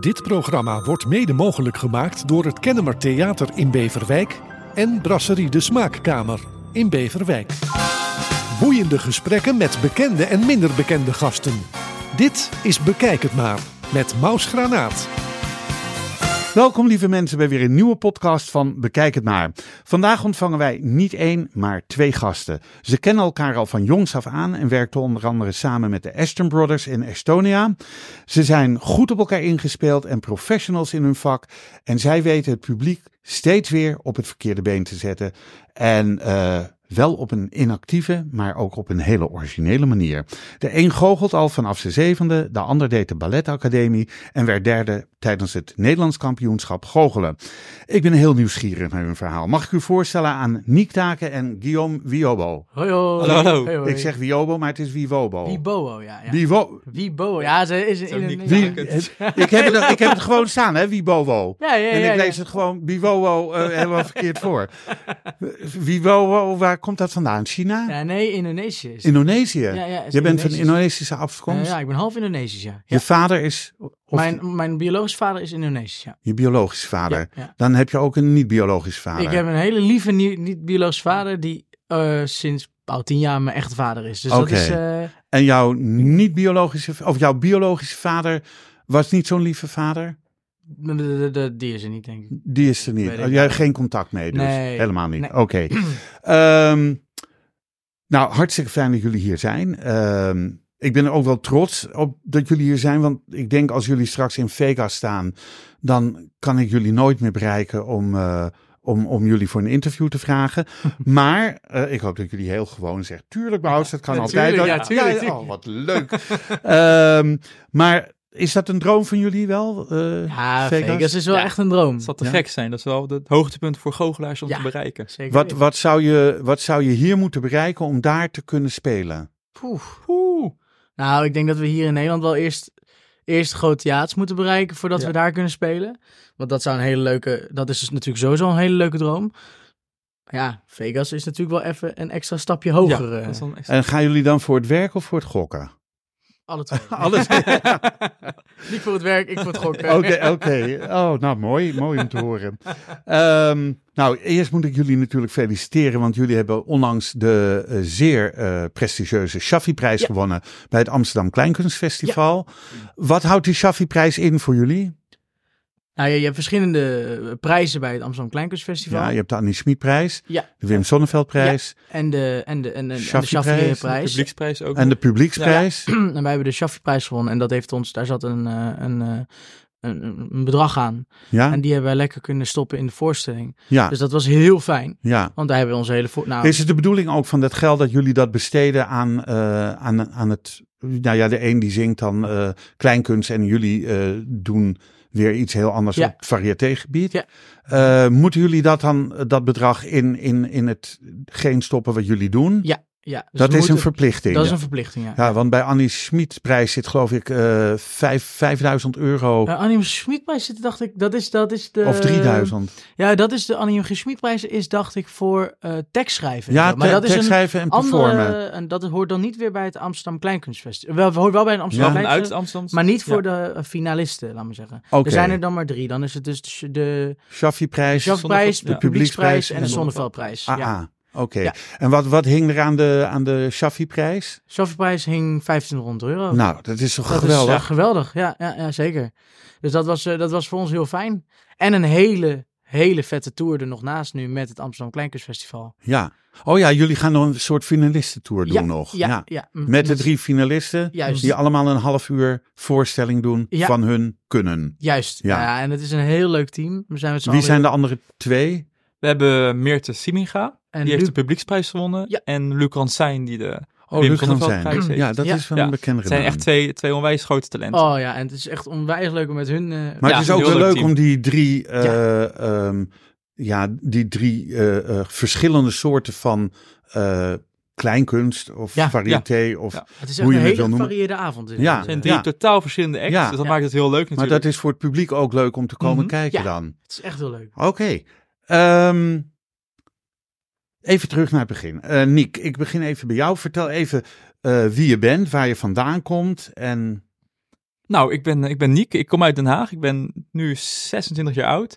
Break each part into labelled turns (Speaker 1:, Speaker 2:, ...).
Speaker 1: Dit programma wordt mede mogelijk gemaakt door het Kennemer Theater in Beverwijk en Brasserie de Smaakkamer in Beverwijk. Boeiende gesprekken met bekende en minder bekende gasten. Dit is Bekijk het maar met Maus Granaat.
Speaker 2: Welkom lieve mensen bij weer een nieuwe podcast van Bekijk het maar. Vandaag ontvangen wij niet één, maar twee gasten. Ze kennen elkaar al van jongs af aan en werkten onder andere samen met de Aston Brothers in Estonia. Ze zijn goed op elkaar ingespeeld en professionals in hun vak. En zij weten het publiek steeds weer op het verkeerde been te zetten. En eh, wel op een inactieve, maar ook op een hele originele manier. De een goochelt al vanaf zijn zevende, de ander deed de balletacademie en werd derde tijdens het Nederlands kampioenschap goochelen. Ik ben heel nieuwsgierig naar hun verhaal. Mag ik u voorstellen aan Niek Taken en Guillaume Wiobo?
Speaker 3: Hoi hoi.
Speaker 4: Hallo, hallo.
Speaker 3: Hey, hoi.
Speaker 2: Ik zeg Wiobo, maar het is Wiwobo.
Speaker 3: Wiebowo, ja. ja.
Speaker 2: Wiwo-
Speaker 3: Wiebowo, ja, ze is in
Speaker 4: Zo'n
Speaker 3: een...
Speaker 4: nick-
Speaker 3: ja.
Speaker 4: nick-
Speaker 2: ik, heb het, ik heb het gewoon staan, hè, Wibowo.
Speaker 3: Ja, ja,
Speaker 2: En
Speaker 3: ja,
Speaker 2: ik
Speaker 3: ja.
Speaker 2: lees het gewoon Biwowo eh, helemaal verkeerd voor. Wiwowo, waar komt dat vandaan? China?
Speaker 3: Ja, nee, Indonesië is
Speaker 2: Indonesië?
Speaker 3: ja, ja, is
Speaker 2: Je bent van
Speaker 3: Indonesisch.
Speaker 2: Indonesische
Speaker 3: Eh,
Speaker 2: afkomst?
Speaker 3: Ja, ik ben half Indonesisch, ja.
Speaker 2: Je vader is... Of
Speaker 3: Mijn, mijn biologisch vader is Indonesisch, ja.
Speaker 2: Je biologische vader.
Speaker 3: Ja, ja.
Speaker 2: Dan heb je ook een niet-biologisch vader.
Speaker 3: Ik heb een hele lieve nie- niet-biologisch vader die eh, sinds al tien jaar mijn echte vader is. Dus
Speaker 2: Oké.
Speaker 3: dat is... eh,
Speaker 2: En jouw niet-biologische... Of jouw biologische vader was niet zo'n lieve vader?
Speaker 3: de- de- de- die is er niet, denk ik.
Speaker 2: Die is er niet.
Speaker 3: Weet ik
Speaker 2: Oh, Jij hebt geen contact mee, dus
Speaker 3: Nee.
Speaker 2: helemaal niet.
Speaker 3: Nee.
Speaker 2: Oké. Ehm, nou, hartstikke fijn dat jullie hier zijn. Ehm, ik ben er ook wel trots op dat jullie hier zijn, want ik denk als jullie straks in Vegas staan, dan kan ik jullie nooit meer bereiken om, eh, om, om jullie voor een interview te vragen. Maar eh, ik hoop dat jullie heel gewoon zeggen, tuurlijk Bouts, dat kan altijd.
Speaker 3: tuurlijk, ja, tuurlijk,
Speaker 2: oh, wat leuk. Ehm, maar is dat een droom van jullie wel? eh,
Speaker 3: Ja, Vegas, is wel
Speaker 4: Ja.
Speaker 3: echt een droom.
Speaker 4: Het zal te
Speaker 2: Ja.
Speaker 4: gek zijn. Dat is wel het hoogtepunt voor goochelaars om
Speaker 3: Ja.
Speaker 4: te bereiken.
Speaker 3: Zeker.
Speaker 2: Wat, wat, zou je, wat zou je hier moeten bereiken om daar te kunnen spelen?
Speaker 3: Poeh.
Speaker 4: Oeh.
Speaker 3: Nou, ik denk dat we hier in Nederland wel eerst, eerst groot theaters moeten bereiken voordat
Speaker 4: Ja.
Speaker 3: we daar kunnen spelen. Want dat zou een hele leuke, dat is dus natuurlijk sowieso een hele leuke droom. Ja, Vegas is natuurlijk wel even een extra stapje
Speaker 4: Ja,
Speaker 3: hoger. eh,
Speaker 4: dat is dan echt...
Speaker 2: En gaan jullie dan voor het werk of voor het gokken?
Speaker 3: alle twee.
Speaker 4: Oh.
Speaker 2: Alles. Oké,
Speaker 3: Niet voor het werk, ik voor het gokken.
Speaker 2: oké. Oh, nou mooi. Mooi om te horen. Ehm, nou, eerst moet ik jullie natuurlijk feliciteren, want jullie hebben onlangs de eh, zeer eh, prestigieuze Shaffi-prijs
Speaker 3: Ja.
Speaker 2: gewonnen bij het Amsterdam Kleinkunstfestival. Wat houdt die Shaffi-prijs in voor jullie?
Speaker 3: Nou, je, je hebt verschillende eh, prijzen bij het Amsterdam Kleinkunstfestival.
Speaker 2: Ja, je hebt de Annie Schmid-prijs,
Speaker 3: Ja.
Speaker 2: de Wim Sonneveld-prijs
Speaker 3: En de, en de, en de, en de
Speaker 2: Shaffy-prijs,
Speaker 4: De
Speaker 3: Shaffy-prijs.
Speaker 4: publieksprijs ook.
Speaker 2: en de Publieksprijs.
Speaker 3: En wij hebben de Shaffy-prijs gewonnen. En dat heeft ons, daar zat een, eh, een, eh, een, een bedrag aan.
Speaker 2: Ja,
Speaker 3: En die hebben wij lekker kunnen stoppen in de voorstelling.
Speaker 2: ja,
Speaker 3: Dus dat was heel fijn.
Speaker 2: ja.
Speaker 3: Want daar hebben we onze hele... Voor... Nou,
Speaker 2: Ah. Is het de bedoeling ook van dat geld dat jullie dat besteden aan, eh, aan, aan het... Nou ja, de een die zingt dan eh, kleinkunst en jullie eh, doen weer iets heel anders
Speaker 3: Ja.
Speaker 2: op het variétégebied.
Speaker 3: Ja.
Speaker 2: Eh, moeten jullie dat dan, eh, dat bedrag in, in, in hetgeen stoppen wat jullie doen?
Speaker 3: ja, dus
Speaker 2: dat
Speaker 3: we
Speaker 2: is
Speaker 3: moeten-
Speaker 2: een verplichting.
Speaker 3: Dat is een verplichting, ja.
Speaker 2: Ja, want bij Annie Schmid prijs zit geloof ik eh vijf- 5000 euro
Speaker 3: Bij Eh, Annie M. Schmidprijs zit, dacht ik, dat is, dat is de...
Speaker 2: of 3000.
Speaker 3: Ja, dat is de Annie M. Schmidprijs, is dacht ik voor eh tekstschrijven. en
Speaker 2: ja,
Speaker 3: zo. maar
Speaker 2: te-
Speaker 3: dat is
Speaker 2: tekst
Speaker 3: een
Speaker 2: schrijven en performen.
Speaker 3: andere... En dat hoort dan niet weer bij het Amsterdam Kleinkunstfestival. Wel, hoort wel bij het Amsterdam
Speaker 2: Ja.
Speaker 4: Van uit
Speaker 3: Kleinkunstfestival,
Speaker 4: Amsterdam.
Speaker 3: eh, maar niet voor de
Speaker 4: Ja.
Speaker 3: eh, finalisten, laat maar zeggen.
Speaker 2: Oké.
Speaker 3: Er zijn er dan maar drie. Dan is het dus de, de
Speaker 2: Shaffi-prijs.
Speaker 3: Schaffprijs, de
Speaker 4: ja.
Speaker 3: Publieksprijs
Speaker 2: Publieksprijs
Speaker 3: en
Speaker 2: en
Speaker 3: de
Speaker 2: de-
Speaker 3: Zonneveldprijs.
Speaker 2: Ah,
Speaker 3: Ja.
Speaker 2: ah, oké.
Speaker 3: Ja.
Speaker 2: En wat, wat hing er aan de, aan de Shaffi-prijs?
Speaker 3: Schaffprijs hing 1500 euro.
Speaker 2: Nou, dat is toch
Speaker 3: Oh. Dat
Speaker 2: geweldig?
Speaker 3: is eh, geweldig, ja, ja, ja zeker. Dus dat was, eh, dat was voor ons heel fijn. En een hele, hele vette tour er nog naast nu met het Amsterdam Kleinkunstfestival.
Speaker 2: Ja. Oh ja, jullie gaan nog een soort finalistentour doen
Speaker 3: ja,
Speaker 2: nog.
Speaker 3: Ja, ja. Mm,
Speaker 2: Met de
Speaker 3: dat-
Speaker 2: drie finalisten
Speaker 3: Juist.
Speaker 2: die allemaal een half uur voorstelling doen
Speaker 3: Ja.
Speaker 2: van hun kunnen.
Speaker 3: Juist,
Speaker 2: Ja.
Speaker 3: ja. en het is een heel leuk team. We zijn met z'n
Speaker 2: Wie
Speaker 3: allen-
Speaker 2: zijn de andere twee?
Speaker 4: We hebben Meerte Siminga.
Speaker 3: en
Speaker 4: Die heeft de
Speaker 3: Luc,
Speaker 4: publieksprijs gewonnen.
Speaker 3: Ja.
Speaker 4: En Luc Ransijn die de...
Speaker 2: Oh,
Speaker 4: Wim
Speaker 2: Luc gaan
Speaker 4: Sonneveld prijs
Speaker 2: zijn.
Speaker 4: heeft.
Speaker 2: Ja, dat
Speaker 3: Ja.
Speaker 2: is wel
Speaker 4: Ja.
Speaker 2: een bekendere
Speaker 4: Het zijn
Speaker 2: naam.
Speaker 4: echt twee, twee onwijs grote talenten.
Speaker 3: Oh ja, en het is echt onwijs leuk om met hun... eh,
Speaker 2: Maar
Speaker 4: Ja,
Speaker 2: het is ook
Speaker 4: heel
Speaker 2: wel
Speaker 4: leuk
Speaker 2: leuk
Speaker 4: team.
Speaker 2: om die drie, eh, ehm, ja, die drie eh, eh, verschillende soorten van eh, kleinkunst of
Speaker 3: Ja, ja.
Speaker 2: variété of
Speaker 4: Ja.
Speaker 3: het
Speaker 2: hoe
Speaker 3: is echt
Speaker 2: je
Speaker 3: een
Speaker 2: het wil
Speaker 3: hele
Speaker 2: noemen.
Speaker 3: varieerde avond. is
Speaker 2: Ja.
Speaker 3: het.
Speaker 4: Het zijn drie
Speaker 2: Ja.
Speaker 4: totaal verschillende acts.
Speaker 2: Ja.
Speaker 4: Dus dat
Speaker 3: Ja.
Speaker 4: maakt het heel leuk
Speaker 2: Maar
Speaker 4: natuurlijk.
Speaker 2: dat is voor het publiek ook leuk om te komen
Speaker 4: Mhm.
Speaker 2: kijken
Speaker 3: Ja.
Speaker 2: dan.
Speaker 3: Het is echt heel leuk.
Speaker 2: Oké. Ehm, even terug naar het begin. Eh Niek, ik begin even bij jou. Vertel even eh, wie je bent, waar je vandaan komt en
Speaker 4: Nou, ik ben, ik ben Niek. Ik kom uit Den Haag. Ik ben nu 26 jaar oud.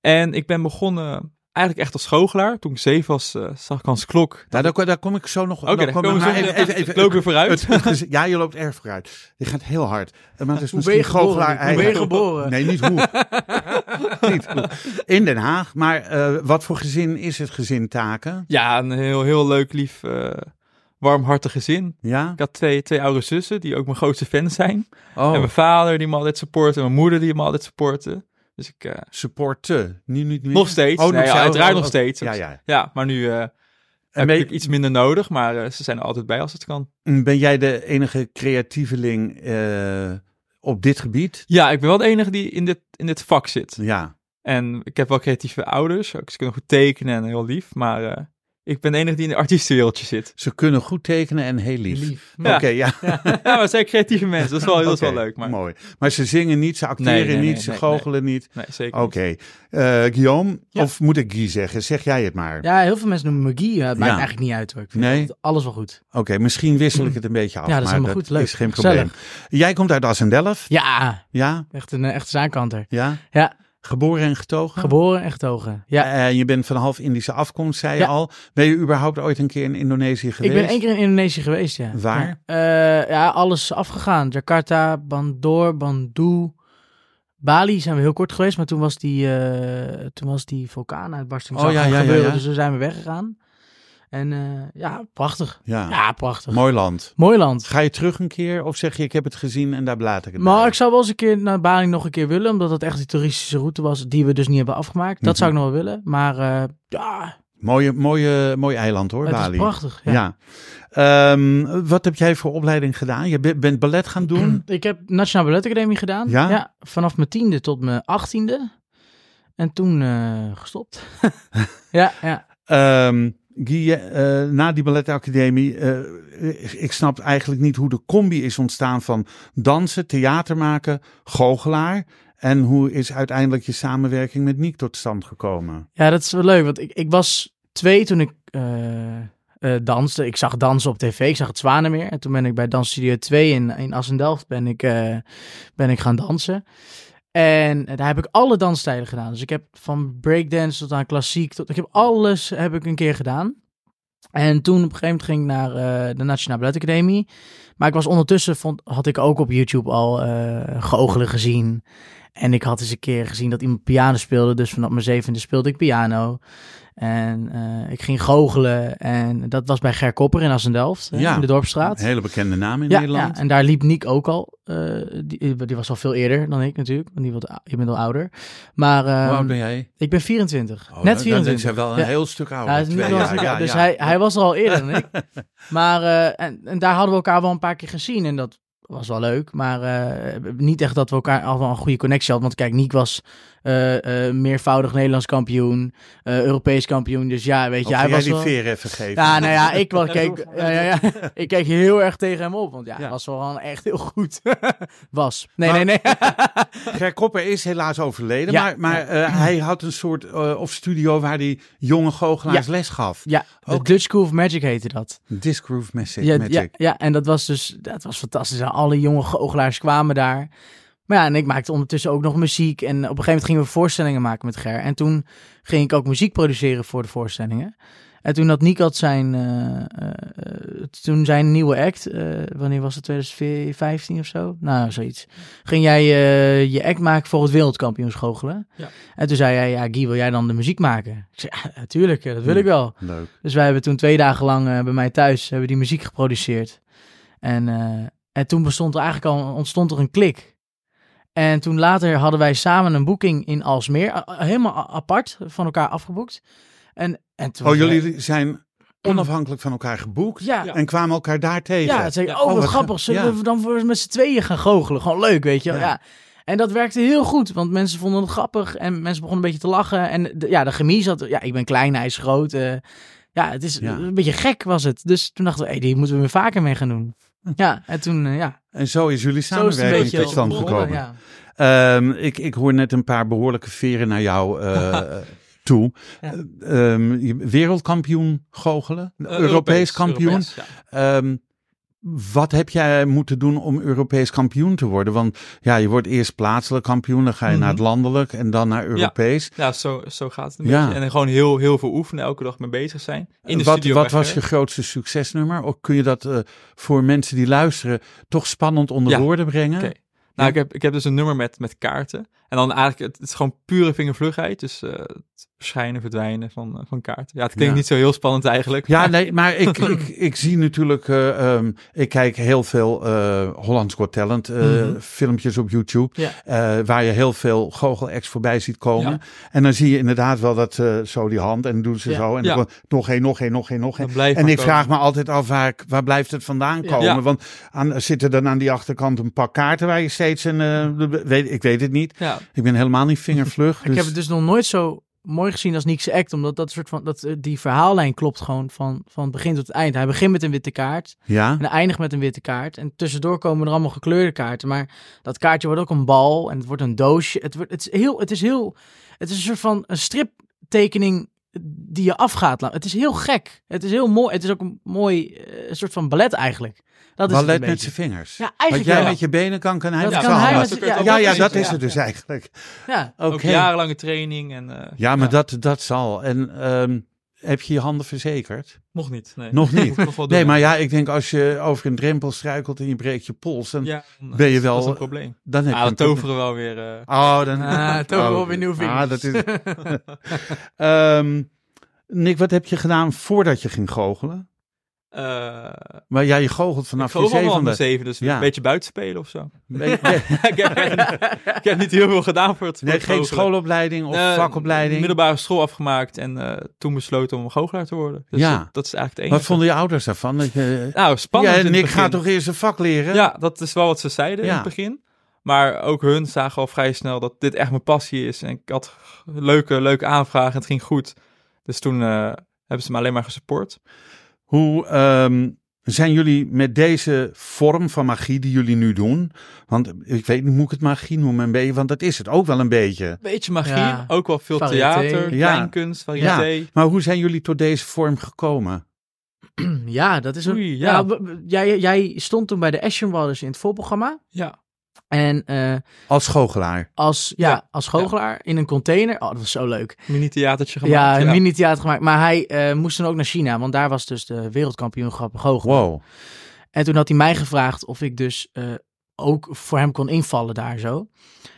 Speaker 4: En ik ben begonnen eigenlijk echt als goochelaar. Toen ik zeven was, eh, zag ik Hans Klok.
Speaker 2: Nou, daar, ko- daar kom ik zo nog...
Speaker 4: Oké,
Speaker 2: daar
Speaker 4: daar
Speaker 2: kom
Speaker 4: komen we
Speaker 2: maar
Speaker 4: zo meteen op. Ik loop weer vooruit.
Speaker 2: het- het gez- ja, je loopt erg vooruit. Je gaat heel hard. Eh, Maar het is
Speaker 3: Hoe ben
Speaker 2: misschien
Speaker 3: je geboren?
Speaker 2: goochelaar
Speaker 3: Nick? Hoe ben je
Speaker 2: eigen-
Speaker 3: geboren?
Speaker 2: Nee, niet hoe. niet hoe. In Den Haag. Maar eh, wat voor gezin is het gezin Taken?
Speaker 4: Ja, een heel, heel leuk, lief, eh, warmhartig gezin.
Speaker 2: Ja?
Speaker 4: Ik had twee, twee oude zussen die ook mijn grootste fan zijn. En
Speaker 2: Oh,
Speaker 4: mijn vader die me altijd supportte. En mijn moeder die me altijd supportte. Dus ik... eh,
Speaker 2: supporten. Nu niet meer?
Speaker 4: nog steeds.
Speaker 2: Oh,
Speaker 4: nee, ja,
Speaker 2: steeds.
Speaker 4: uiteraard
Speaker 2: Oh,
Speaker 4: nog
Speaker 2: oh.
Speaker 4: steeds.
Speaker 2: Ja, ja.
Speaker 4: Ja, maar nu eh
Speaker 2: En
Speaker 4: heb ik
Speaker 2: ben,
Speaker 4: natuurlijk iets minder nodig. Maar eh, ze zijn er altijd bij als het kan.
Speaker 2: Mm, ben jij de enige creatieveling eh, op dit gebied?
Speaker 4: Ja, ik ben wel de enige die in dit, in dit vak zit.
Speaker 2: Ja.
Speaker 4: En ik heb wel creatieve ouders. ook Ze kunnen goed tekenen en heel lief. Maar eh, ik ben de enige die in de artiestenwereldje zit.
Speaker 2: Ze kunnen goed tekenen en heel lief.
Speaker 3: Lief.
Speaker 4: Ja.
Speaker 2: Oké, ja.
Speaker 4: ja, maar het zijn creatieve mensen. Dat is wel, dat is
Speaker 2: Oké,
Speaker 4: wel leuk. Maar...
Speaker 2: Mooi. Maar ze zingen niet, ze acteren
Speaker 4: Nee, nee,
Speaker 2: niet,
Speaker 4: nee,
Speaker 2: ze
Speaker 4: nee,
Speaker 2: goochelen niet.
Speaker 4: Nee, zeker
Speaker 2: Oké.
Speaker 4: niet.
Speaker 2: Eh, Guillaume,
Speaker 3: Ja.
Speaker 2: of moet ik Guy zeggen? Zeg jij het maar.
Speaker 3: Ja, heel veel mensen noemen me Guy. Ja, het maakt
Speaker 2: Ja.
Speaker 3: eigenlijk niet uit hoor. Ik vind
Speaker 2: Nee.
Speaker 3: altijd alles wel goed.
Speaker 2: Oké, misschien wissel ik het een beetje af.
Speaker 3: Ja, dat is
Speaker 2: maar
Speaker 3: helemaal goed. Leuk.
Speaker 2: is geen probleem.
Speaker 3: Gezellig.
Speaker 2: Jij komt uit Assendelft.
Speaker 3: Ja,
Speaker 2: Ja?
Speaker 3: echt een eh, echte zaakkanter.
Speaker 2: Ja?
Speaker 3: Ja.
Speaker 2: Geboren en getogen?
Speaker 3: Geboren en getogen. Ja.
Speaker 2: En je bent van half Indische afkomst, zei je
Speaker 3: Ja.
Speaker 2: al. Ben je überhaupt ooit een keer in Indonesië geweest?
Speaker 3: Ik ben één keer in Indonesië geweest, ja.
Speaker 2: Waar?
Speaker 3: Ja, Eh, ja, alles afgegaan. Jakarta, Bandor, Bandu. Bali zijn we heel kort geweest, maar toen was die, eh, toen was die vulkaanuitbarsting
Speaker 2: Oh,
Speaker 3: zou
Speaker 2: ja,
Speaker 3: gaan
Speaker 2: ja, ja,
Speaker 3: gebeuren,
Speaker 2: ja.
Speaker 3: dus toen zijn we weggegaan. En eh, ja, prachtig.
Speaker 2: Ja.
Speaker 3: Ja, prachtig.
Speaker 2: Mooi land.
Speaker 3: Mooi land.
Speaker 2: Ga je terug een keer of zeg je ik heb het gezien en daar blaat ik het bij?
Speaker 3: Maar ik zou wel eens een keer naar Bali nog een keer willen, omdat dat echt die toeristische route was die we dus niet hebben afgemaakt.
Speaker 2: Mhm.
Speaker 3: Dat zou ik nog wel willen, maar eh, ja,
Speaker 2: Mooie, mooie, mooi eiland hoor,
Speaker 3: het
Speaker 2: Bali.
Speaker 3: is prachtig.
Speaker 2: Ja.
Speaker 3: Ja.
Speaker 2: Ehm, wat heb jij voor opleiding gedaan? Je be- bent ballet gaan doen?
Speaker 3: Ik heb Nationale Balletacademie gedaan.
Speaker 2: Hmm. Ja?
Speaker 3: vanaf mijn tiende tot mijn achttiende. En toen eh, gestopt. ja, ja.
Speaker 2: Ehm Guy, eh, na die balletacademie, eh, ik- ik snap eigenlijk niet hoe de combi is ontstaan van dansen, theater maken, goochelaar. En hoe is uiteindelijk je samenwerking met Niek tot stand gekomen?
Speaker 3: ja, dat is wel leuk. Want ik, ik was twee toen ik eh, eh, danste. Ik zag dansen op tv. Ik zag het Zwanenmeer. En toen ben ik bij Dansstudio 2 in, in Assendelft ben ik, eh, ben ik gaan dansen. En daar heb ik alle dansstijlen gedaan. Dus ik heb van breakdance tot aan klassiek. Tot, ik heb alles heb ik een keer gedaan. En toen op een gegeven moment ging ik naar eh, de Nationale Ballet Academie. Maar ik was ondertussen, vond, had ik ook op YouTube al eh goochelen gezien. En ik had eens een keer gezien dat iemand piano speelde. Dus vanaf mijn zevende speelde ik piano. En eh, ik ging goochelen. En dat was bij Ger Kopper in Assendelft, hè,
Speaker 2: Ja.
Speaker 3: in de Dorpstraat.
Speaker 2: Een hele bekende naam in
Speaker 3: Ja,
Speaker 2: Nederland.
Speaker 3: ja, en daar liep Niek ook al. eh, die, die was al veel eerder dan ik natuurlijk, want die wat, je bent al ouder. Maar ehm,
Speaker 2: hoe oud ben jij?
Speaker 3: ik ben 24,
Speaker 2: Oh,
Speaker 3: net
Speaker 2: Dan is
Speaker 3: 24.
Speaker 2: hij wel een
Speaker 3: Ja.
Speaker 2: heel stuk ouder.
Speaker 3: Ja, hij is
Speaker 2: Twee
Speaker 3: niet wel
Speaker 2: jaar,
Speaker 3: zo-
Speaker 2: ja,
Speaker 3: dus
Speaker 2: ja.
Speaker 3: Hij, hij was er al eerder dan ik. Maar eh, en, en daar hadden we elkaar wel een paar keer gezien en dat was wel leuk. Maar eh, niet echt dat we elkaar al wel een goede connectie hadden. Want kijk, Niek was eh, eh, meervoudig Nederlands kampioen, eh, Europees kampioen. Dus ja, weet
Speaker 2: Of
Speaker 3: je,
Speaker 2: ga
Speaker 3: hij
Speaker 2: jij
Speaker 3: was
Speaker 2: die
Speaker 3: wel...
Speaker 2: veer even geven?
Speaker 3: Ja, nou ja, ik, was, keek,
Speaker 4: doe
Speaker 3: ja, ja, ja, ik keek heel erg tegen hem op. Want ja,
Speaker 2: Ja.
Speaker 3: hij was wel echt heel goed. was. Nee,
Speaker 2: Maar-
Speaker 3: nee, nee.
Speaker 2: Ger Kopper is helaas overleden,
Speaker 3: Ja.
Speaker 2: maar, maar eh, hij had een soort eh, of studio waar hij jonge goochelaars les gaf.
Speaker 3: ja, de
Speaker 2: Oké.
Speaker 3: Dutch School of Magic heette dat.
Speaker 2: Disgroove Magic.
Speaker 3: Ja,
Speaker 2: Magic.
Speaker 3: ja, ja, en dat was dus dat was fantastisch. Alle jonge goochelaars kwamen daar. Maar ja, en ik maakte ondertussen ook nog muziek. En op een gegeven moment gingen we voorstellingen maken met Ger. En toen ging ik ook muziek produceren voor de voorstellingen. En toen had Niek had zijn, eh, eh, eh, toen zijn nieuwe act, eh, wanneer was het, 2015 of zo? Nou, zoiets. Ging jij eh, je act maken voor het wereldkampioen goochelen?
Speaker 4: Ja.
Speaker 3: En toen zei hij, ja Guy, wil jij dan de muziek maken? Ik zei, ja, natuurlijk, dat wil ik wel.
Speaker 2: Leuk.
Speaker 3: Dus wij hebben toen twee dagen lang eh, bij mij thuis hebben die muziek geproduceerd. En, eh, en toen bestond er eigenlijk al, ontstond er een klik. En toen later hadden wij samen een boeking in Alsmeer. a- a- Helemaal a- apart van elkaar afgeboekt. En, en toen
Speaker 2: Oh,
Speaker 3: was-
Speaker 2: jullie zijn onafhankelijk van elkaar geboekt
Speaker 3: Ja, ja.
Speaker 2: en kwamen elkaar daar tegen.
Speaker 3: het zei,
Speaker 4: Ja.
Speaker 3: oh,
Speaker 2: Oh,
Speaker 3: wat
Speaker 2: wat
Speaker 3: grappig.
Speaker 2: grap-
Speaker 3: Zullen
Speaker 2: ja.
Speaker 3: we dan voor met z'n tweeën gaan goochelen? Gewoon leuk, weet je wel.
Speaker 2: Ja.
Speaker 3: Ja. En dat werkte heel goed, want mensen vonden het grappig. En mensen begonnen een beetje te lachen. En de- ja, de chemie zat... Ja, ik ben klein, hij is groot. eh, ja, het is
Speaker 2: Ja.
Speaker 3: een beetje gek was het. Dus toen dachten we, hey, die moeten we weer vaker mee gaan doen. Ja, en toen, eh, ja.
Speaker 2: En zo is jullie
Speaker 3: Zo is het een
Speaker 2: samenwerking
Speaker 3: beetje
Speaker 2: tot stand
Speaker 3: begonnen,
Speaker 2: gekomen.
Speaker 3: ja.
Speaker 2: Ehm, ik, ik hoor net een paar behoorlijke veren naar jou eh, toe.
Speaker 3: Ja.
Speaker 2: Ehm, je- wereldkampioen goochelen,
Speaker 4: Eh,
Speaker 2: Europees, kampioen.
Speaker 4: Europees, ja.
Speaker 2: Ehm, Wat heb jij moeten doen om Europees kampioen te worden? Want ja, je wordt eerst plaatselijk kampioen, dan ga je
Speaker 4: Mhm.
Speaker 2: naar het landelijk en dan naar Europees.
Speaker 4: Ja, zo, zo gaat het een
Speaker 2: Ja.
Speaker 4: beetje. En dan gewoon heel, heel veel oefenen, elke dag mee bezig zijn. In de
Speaker 2: wat
Speaker 4: studio
Speaker 2: wat
Speaker 4: echt,
Speaker 2: was
Speaker 4: hè?
Speaker 2: je grootste succesnummer? Of kun je dat eh, voor mensen die luisteren toch spannend onder
Speaker 4: Ja.
Speaker 2: woorden brengen?
Speaker 4: Oké. Nou,
Speaker 2: Ja.
Speaker 4: ik, heb, ik heb dus een nummer met, met kaarten. En dan eigenlijk, het, het is gewoon pure vingervlugheid. Dus eh, het verschijnen, verdwijnen van, eh, van kaarten. Ja, het klinkt
Speaker 2: Ja.
Speaker 4: niet zo heel spannend eigenlijk.
Speaker 2: Ja,
Speaker 4: maar-
Speaker 2: nee, maar ik, ik, ik zie natuurlijk, eh, ehm, ik kijk heel veel eh Hollands Got Talent eh,
Speaker 4: Mhm.
Speaker 2: filmpjes op YouTube,
Speaker 3: Ja.
Speaker 2: eh, waar je heel veel goochel-acts voorbij ziet komen. En dan zie je inderdaad wel dat eh, zo die hand en doen ze
Speaker 3: Ja.
Speaker 2: zo en
Speaker 4: Ja.
Speaker 2: dan nog één, nog één, nog één, nog één.
Speaker 4: dat blijft
Speaker 2: En
Speaker 4: maar
Speaker 2: ik
Speaker 4: komen.
Speaker 2: vraag me altijd af waar, waar blijft het vandaan
Speaker 3: Ja.
Speaker 2: komen?
Speaker 4: Ja.
Speaker 2: Want aan, zit er dan aan die achterkant een pak kaarten waar je steeds een, eh, weet, ik weet het niet.
Speaker 4: Ja,
Speaker 2: Ik ben helemaal niet vingervlug.
Speaker 3: Ik
Speaker 2: dus-
Speaker 3: heb het dus nog nooit zo mooi gezien als Nick's act, omdat dat soort van, dat, eh, die verhaallijn klopt gewoon van, van het begin tot het eind. Hij begint met een witte kaart
Speaker 2: ja.
Speaker 3: en hij eindigt met een witte kaart. En tussendoor komen er allemaal gekleurde kaarten, maar dat kaartje wordt ook een bal en het wordt een doosje. Het, wordt, het, is, heel, het is heel, het is een soort van een striptekening die je afgaat. Het is heel gek. Het is heel mooi. Het is ook een mooi eh, een soort van ballet eigenlijk. Dat is het
Speaker 2: Ballet
Speaker 3: een
Speaker 2: met
Speaker 3: beetje.
Speaker 2: zijn vingers.
Speaker 3: Ja,
Speaker 2: Wat
Speaker 3: eigenlijk
Speaker 2: jij
Speaker 3: wel.
Speaker 2: met je benen kan, kan hij
Speaker 3: Dat
Speaker 2: met
Speaker 4: ja,
Speaker 3: kan
Speaker 2: zijn
Speaker 3: hij
Speaker 2: handen.
Speaker 3: met
Speaker 4: zo kun
Speaker 3: ja,
Speaker 2: Ja,
Speaker 4: je het ook
Speaker 2: ja,
Speaker 4: zien,
Speaker 2: dat
Speaker 4: ja.
Speaker 2: is het dus eigenlijk.
Speaker 3: Ja.
Speaker 2: Oké.
Speaker 4: Ook jarenlange training. En, eh,
Speaker 2: Ja, maar Dat, dat zal. En ehm, heb je je handen verzekerd?
Speaker 4: Nog niet. Nee.
Speaker 2: Nog niet.
Speaker 4: Moet ik nog wel
Speaker 2: Nee,
Speaker 4: doen.
Speaker 2: maar ja, ik denk als je over een drempel struikelt en je breekt je pols, dan,
Speaker 4: Ja, dan- eh,
Speaker 2: ben je
Speaker 4: dat is- Dat
Speaker 2: eh, wel-
Speaker 4: is een probleem.
Speaker 2: dan heb
Speaker 4: Ah,
Speaker 2: je
Speaker 4: dan
Speaker 2: een probleem.
Speaker 4: toveren we wel weer. eh,
Speaker 2: Oh, dan
Speaker 3: Ah, toveren we weer nieuwe vingers.
Speaker 2: Ah, dat is. Ehm, Nick, wat heb je gedaan voordat je ging goochelen?
Speaker 4: eh,
Speaker 2: Maar ja, je goochelt vanaf
Speaker 4: ik geloof
Speaker 2: je
Speaker 4: allemaal om
Speaker 2: zevende.
Speaker 4: de zeven, dus
Speaker 2: Ja.
Speaker 4: een beetje buitenspelen of zo.
Speaker 2: Nee, nee,
Speaker 4: ik, heb, ik heb niet heel veel gedaan voor het voor
Speaker 2: nee,
Speaker 4: het
Speaker 2: geen
Speaker 4: goochelen.
Speaker 2: schoolopleiding of
Speaker 4: Eh,
Speaker 2: vakopleiding.
Speaker 4: Middelbare school afgemaakt en eh, toen besloten om goochelaar te worden. Dus
Speaker 2: Ja.
Speaker 4: dat, dat is eigenlijk het
Speaker 2: Wat
Speaker 4: enige.
Speaker 2: vonden je ouders daarvan? Dat je,
Speaker 4: Nou, spannend.
Speaker 2: ja,
Speaker 4: in het
Speaker 2: Nick
Speaker 4: begin.
Speaker 2: gaat toch eerst een vak leren?
Speaker 4: Ja, dat is wel wat ze zeiden
Speaker 2: Ja.
Speaker 4: in het begin. Maar ook hun zagen al vrij snel dat dit echt mijn passie is. En ik had g- leuke, leuke aanvragen. Het ging goed. Dus toen eh, hebben ze me alleen maar gesupport.
Speaker 2: Hoe ehm, zijn jullie met deze vorm van magie die jullie nu doen? Want ik weet niet, moet ik het magie noemen een beetje? Want dat is het ook wel een beetje.
Speaker 4: Beetje magie.
Speaker 3: Ja.
Speaker 4: Ook wel veel
Speaker 3: Variété.
Speaker 4: theater,
Speaker 2: Ja.
Speaker 4: kleinkunst, variété.
Speaker 2: Maar hoe zijn jullie tot deze vorm gekomen?
Speaker 3: Ehm, Ja, dat is een.
Speaker 4: Oei,
Speaker 3: ja.
Speaker 4: ja.
Speaker 3: w- w- jij, jij stond toen bij de Ashen Brothers in het voorprogramma.
Speaker 4: Ja.
Speaker 3: En eh,
Speaker 2: Als goochelaar.
Speaker 3: als, ja,
Speaker 4: Ja,
Speaker 3: als goochelaar in een container. Oh, dat was zo leuk.
Speaker 4: Mini-theatertje gemaakt.
Speaker 3: ja, een mini-theater gemaakt. Maar hij eh, moest dan ook naar China, want daar was dus de wereldkampioenschap goochelaar.
Speaker 2: Wow.
Speaker 3: En toen had hij mij gevraagd of ik dus eh, ook voor hem kon invallen daar zo.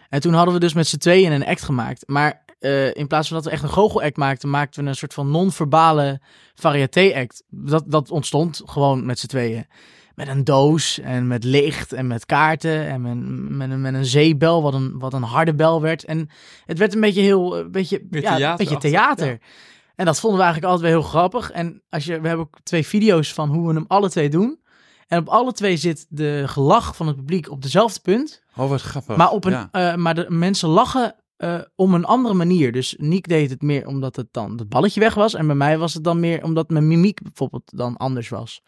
Speaker 3: En toen hadden we dus met z'n tweeën een act gemaakt. Maar eh, in plaats van dat we echt een goochelact maakten, maakten we een soort van non-verbale variété-act. Dat, dat ontstond gewoon met z'n tweeën. Met een doos en met licht en met kaarten en met, met, een, met een zeebel, wat een, wat een harde bel werd. En het werd een beetje heel, een beetje,
Speaker 4: Meer
Speaker 3: ja, een beetje
Speaker 4: theaterachtig,
Speaker 3: theater.
Speaker 4: ja.
Speaker 3: En dat vonden we eigenlijk altijd wel heel grappig. En als je, we hebben ook twee video's van hoe we hem alle twee doen. En op alle twee zit de gelach van het publiek op dezelfde punt.
Speaker 2: Oh, wat grappig.
Speaker 3: maar, op een,
Speaker 2: Ja.
Speaker 3: eh, maar de mensen lachen eh, om een andere manier. Dus Niek deed het meer omdat het dan het balletje weg was. En bij mij was het dan meer omdat mijn mimiek bijvoorbeeld dan anders was.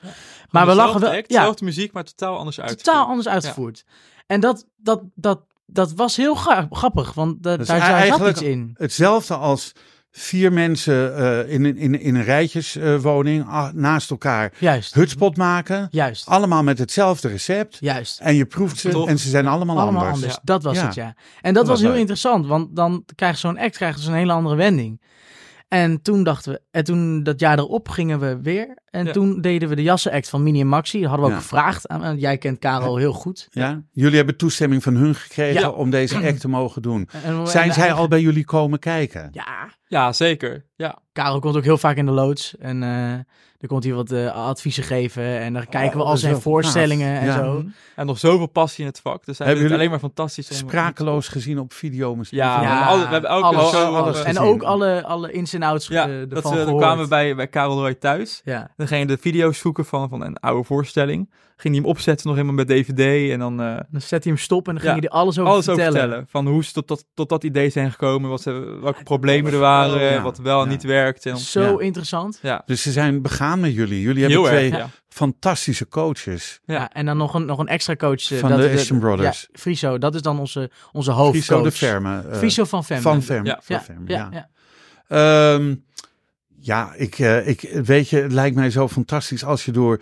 Speaker 3: maar we lachen wel. ja,
Speaker 4: Zelfde muziek, maar totaal anders uit.
Speaker 3: totaal anders uitgevoerd. En dat, dat, dat, dat was heel gra- grappig, want da-
Speaker 2: is
Speaker 3: daar, daar zat
Speaker 2: Dus e- eigenlijk-
Speaker 3: iets in.
Speaker 2: Hetzelfde als vier mensen eh, in, een- in, in een rijtjeswoning ah, naast elkaar
Speaker 3: Juist,
Speaker 2: hutspot maken.
Speaker 3: juist,
Speaker 2: Allemaal met hetzelfde recept.
Speaker 3: juist.
Speaker 2: En je proeft ze
Speaker 4: Toch?
Speaker 2: en ze zijn allemaal,
Speaker 3: Allemaal
Speaker 2: anders.
Speaker 3: anders. Dat was
Speaker 2: Ja.
Speaker 3: het, ja. En dat,
Speaker 2: Dat
Speaker 3: was
Speaker 2: was
Speaker 3: heel
Speaker 2: leuk.
Speaker 3: interessant, want dan krijgt zo'n act krijgt dus een hele andere wending. En toen dachten we, en toen dat jaar erop gingen we weer. En
Speaker 4: Ja.
Speaker 3: toen deden we de jassen-act van Mini en Maxi. Dat hadden we ook
Speaker 2: Ja.
Speaker 3: gevraagd. Aan, aan- jij kent Karel heel goed.
Speaker 2: Ja? Jullie hebben toestemming van hun gekregen
Speaker 3: Ja.
Speaker 2: om deze act te mogen doen.
Speaker 3: En- en-
Speaker 2: Zijn
Speaker 3: en-
Speaker 2: zij al bij jullie komen kijken?
Speaker 3: Ja,
Speaker 4: Ja, zeker. Ja.
Speaker 3: Karel komt ook heel vaak in de loods. En eh dan komt hij wat eh, adviezen geven. En dan kijken we
Speaker 2: Oh, dat
Speaker 3: al
Speaker 2: is
Speaker 3: zijn
Speaker 2: wel gaaf.
Speaker 3: voorstellingen en
Speaker 2: Ja.
Speaker 3: zo.
Speaker 4: En nog zoveel passie in het vak. Dus
Speaker 2: Hebben
Speaker 4: hij vindt het
Speaker 2: jullie
Speaker 4: alleen maar fantastisch. Om...
Speaker 2: Sprakeloos gezien op video misschien.
Speaker 4: Ja,
Speaker 3: Ja,
Speaker 4: we hebben alle- we hebben elke
Speaker 3: alles,
Speaker 4: show
Speaker 2: alles
Speaker 4: hebben-
Speaker 3: En
Speaker 2: gezien.
Speaker 3: ook alle, alle ins en outs eh,
Speaker 4: Ja, dat
Speaker 3: ervan
Speaker 4: we, dan
Speaker 3: gehoord.
Speaker 4: kwamen we bij, bij Karel Roy thuis.
Speaker 3: Ja,
Speaker 4: Dan ging je de video's zoeken van, van een oude voorstelling. Ging hij hem opzetten nog helemaal met DVD. En dan eh,
Speaker 3: dan zet hij hem stop en dan
Speaker 4: Ja.
Speaker 3: ging hij er alles over
Speaker 4: alles
Speaker 3: vertellen.
Speaker 4: over vertellen. Van hoe ze tot dat, tot dat idee zijn gekomen. Wat ze, welke problemen er waren.
Speaker 2: Ja,
Speaker 4: Wat wel en
Speaker 2: ja.
Speaker 4: niet werkte. En,
Speaker 3: Zo
Speaker 2: Ja.
Speaker 3: interessant.
Speaker 4: ja,
Speaker 2: Dus ze zijn begaan met jullie. Jullie hebben
Speaker 4: heel
Speaker 2: twee
Speaker 4: erg. Ja.
Speaker 2: fantastische coaches.
Speaker 4: Ja.
Speaker 3: Ja, en dan nog een, nog een extra coach. eh,
Speaker 2: Van de Ashton Brothers.
Speaker 3: Ja, Friso, dat is dan onze, onze hoofdcoach.
Speaker 2: Friso de Verme. eh,
Speaker 3: Friso van Femme.
Speaker 2: Van Verme.
Speaker 4: Ja.
Speaker 2: Van
Speaker 3: ja,
Speaker 2: Verme,
Speaker 3: ja,
Speaker 2: ja.
Speaker 3: ja.
Speaker 2: Ehm, ja, ik, eh, ik, weet je, het lijkt mij zo fantastisch als je door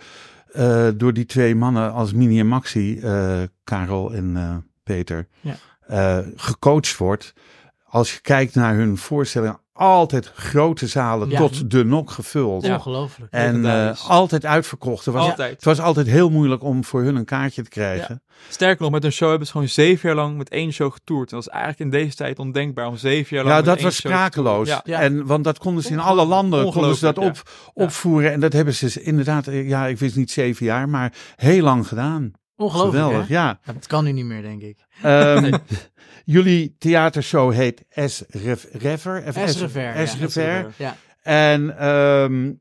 Speaker 2: eh, eh, door die twee mannen als Mini en Maxi, eh, Karel en eh, Peter,
Speaker 3: Ja.
Speaker 2: eh, gecoacht wordt. Als je kijkt naar hun voorstellingen, altijd grote zalen
Speaker 3: Ja.
Speaker 2: tot de nok gevuld.
Speaker 3: Ongelooflijk.
Speaker 2: En
Speaker 4: Legendarisch.
Speaker 2: eh, altijd uitverkocht. Er was,
Speaker 4: Altijd.
Speaker 2: Het was altijd heel moeilijk om voor hun een kaartje te krijgen.
Speaker 4: Sterker nog, met een show hebben ze gewoon zeven jaar lang met één show getoerd. En dat is eigenlijk in deze tijd ondenkbaar om zeven jaar
Speaker 2: Ja,
Speaker 4: lang met
Speaker 2: dat
Speaker 4: één
Speaker 2: was
Speaker 4: show te toeren.
Speaker 2: sprakeloos.
Speaker 4: Ja.
Speaker 3: Ja.
Speaker 2: En, want dat konden ze in alle landen konden ze dat op,
Speaker 4: Ongelooflijk,
Speaker 2: opvoeren. En dat hebben ze dus inderdaad, eh, ja, ik wist niet zeven jaar, maar heel lang gedaan.
Speaker 3: Ongelooflijk,
Speaker 2: Geweldig,
Speaker 3: hè?
Speaker 2: ja.
Speaker 3: Ja, Dat kan nu niet meer, denk ik.
Speaker 2: Ehm, Jullie theatershow heet S. Rev- Rever. of
Speaker 3: S. Rever,
Speaker 2: S.
Speaker 3: ja.
Speaker 2: Rever.
Speaker 3: Ja.
Speaker 2: En ehm,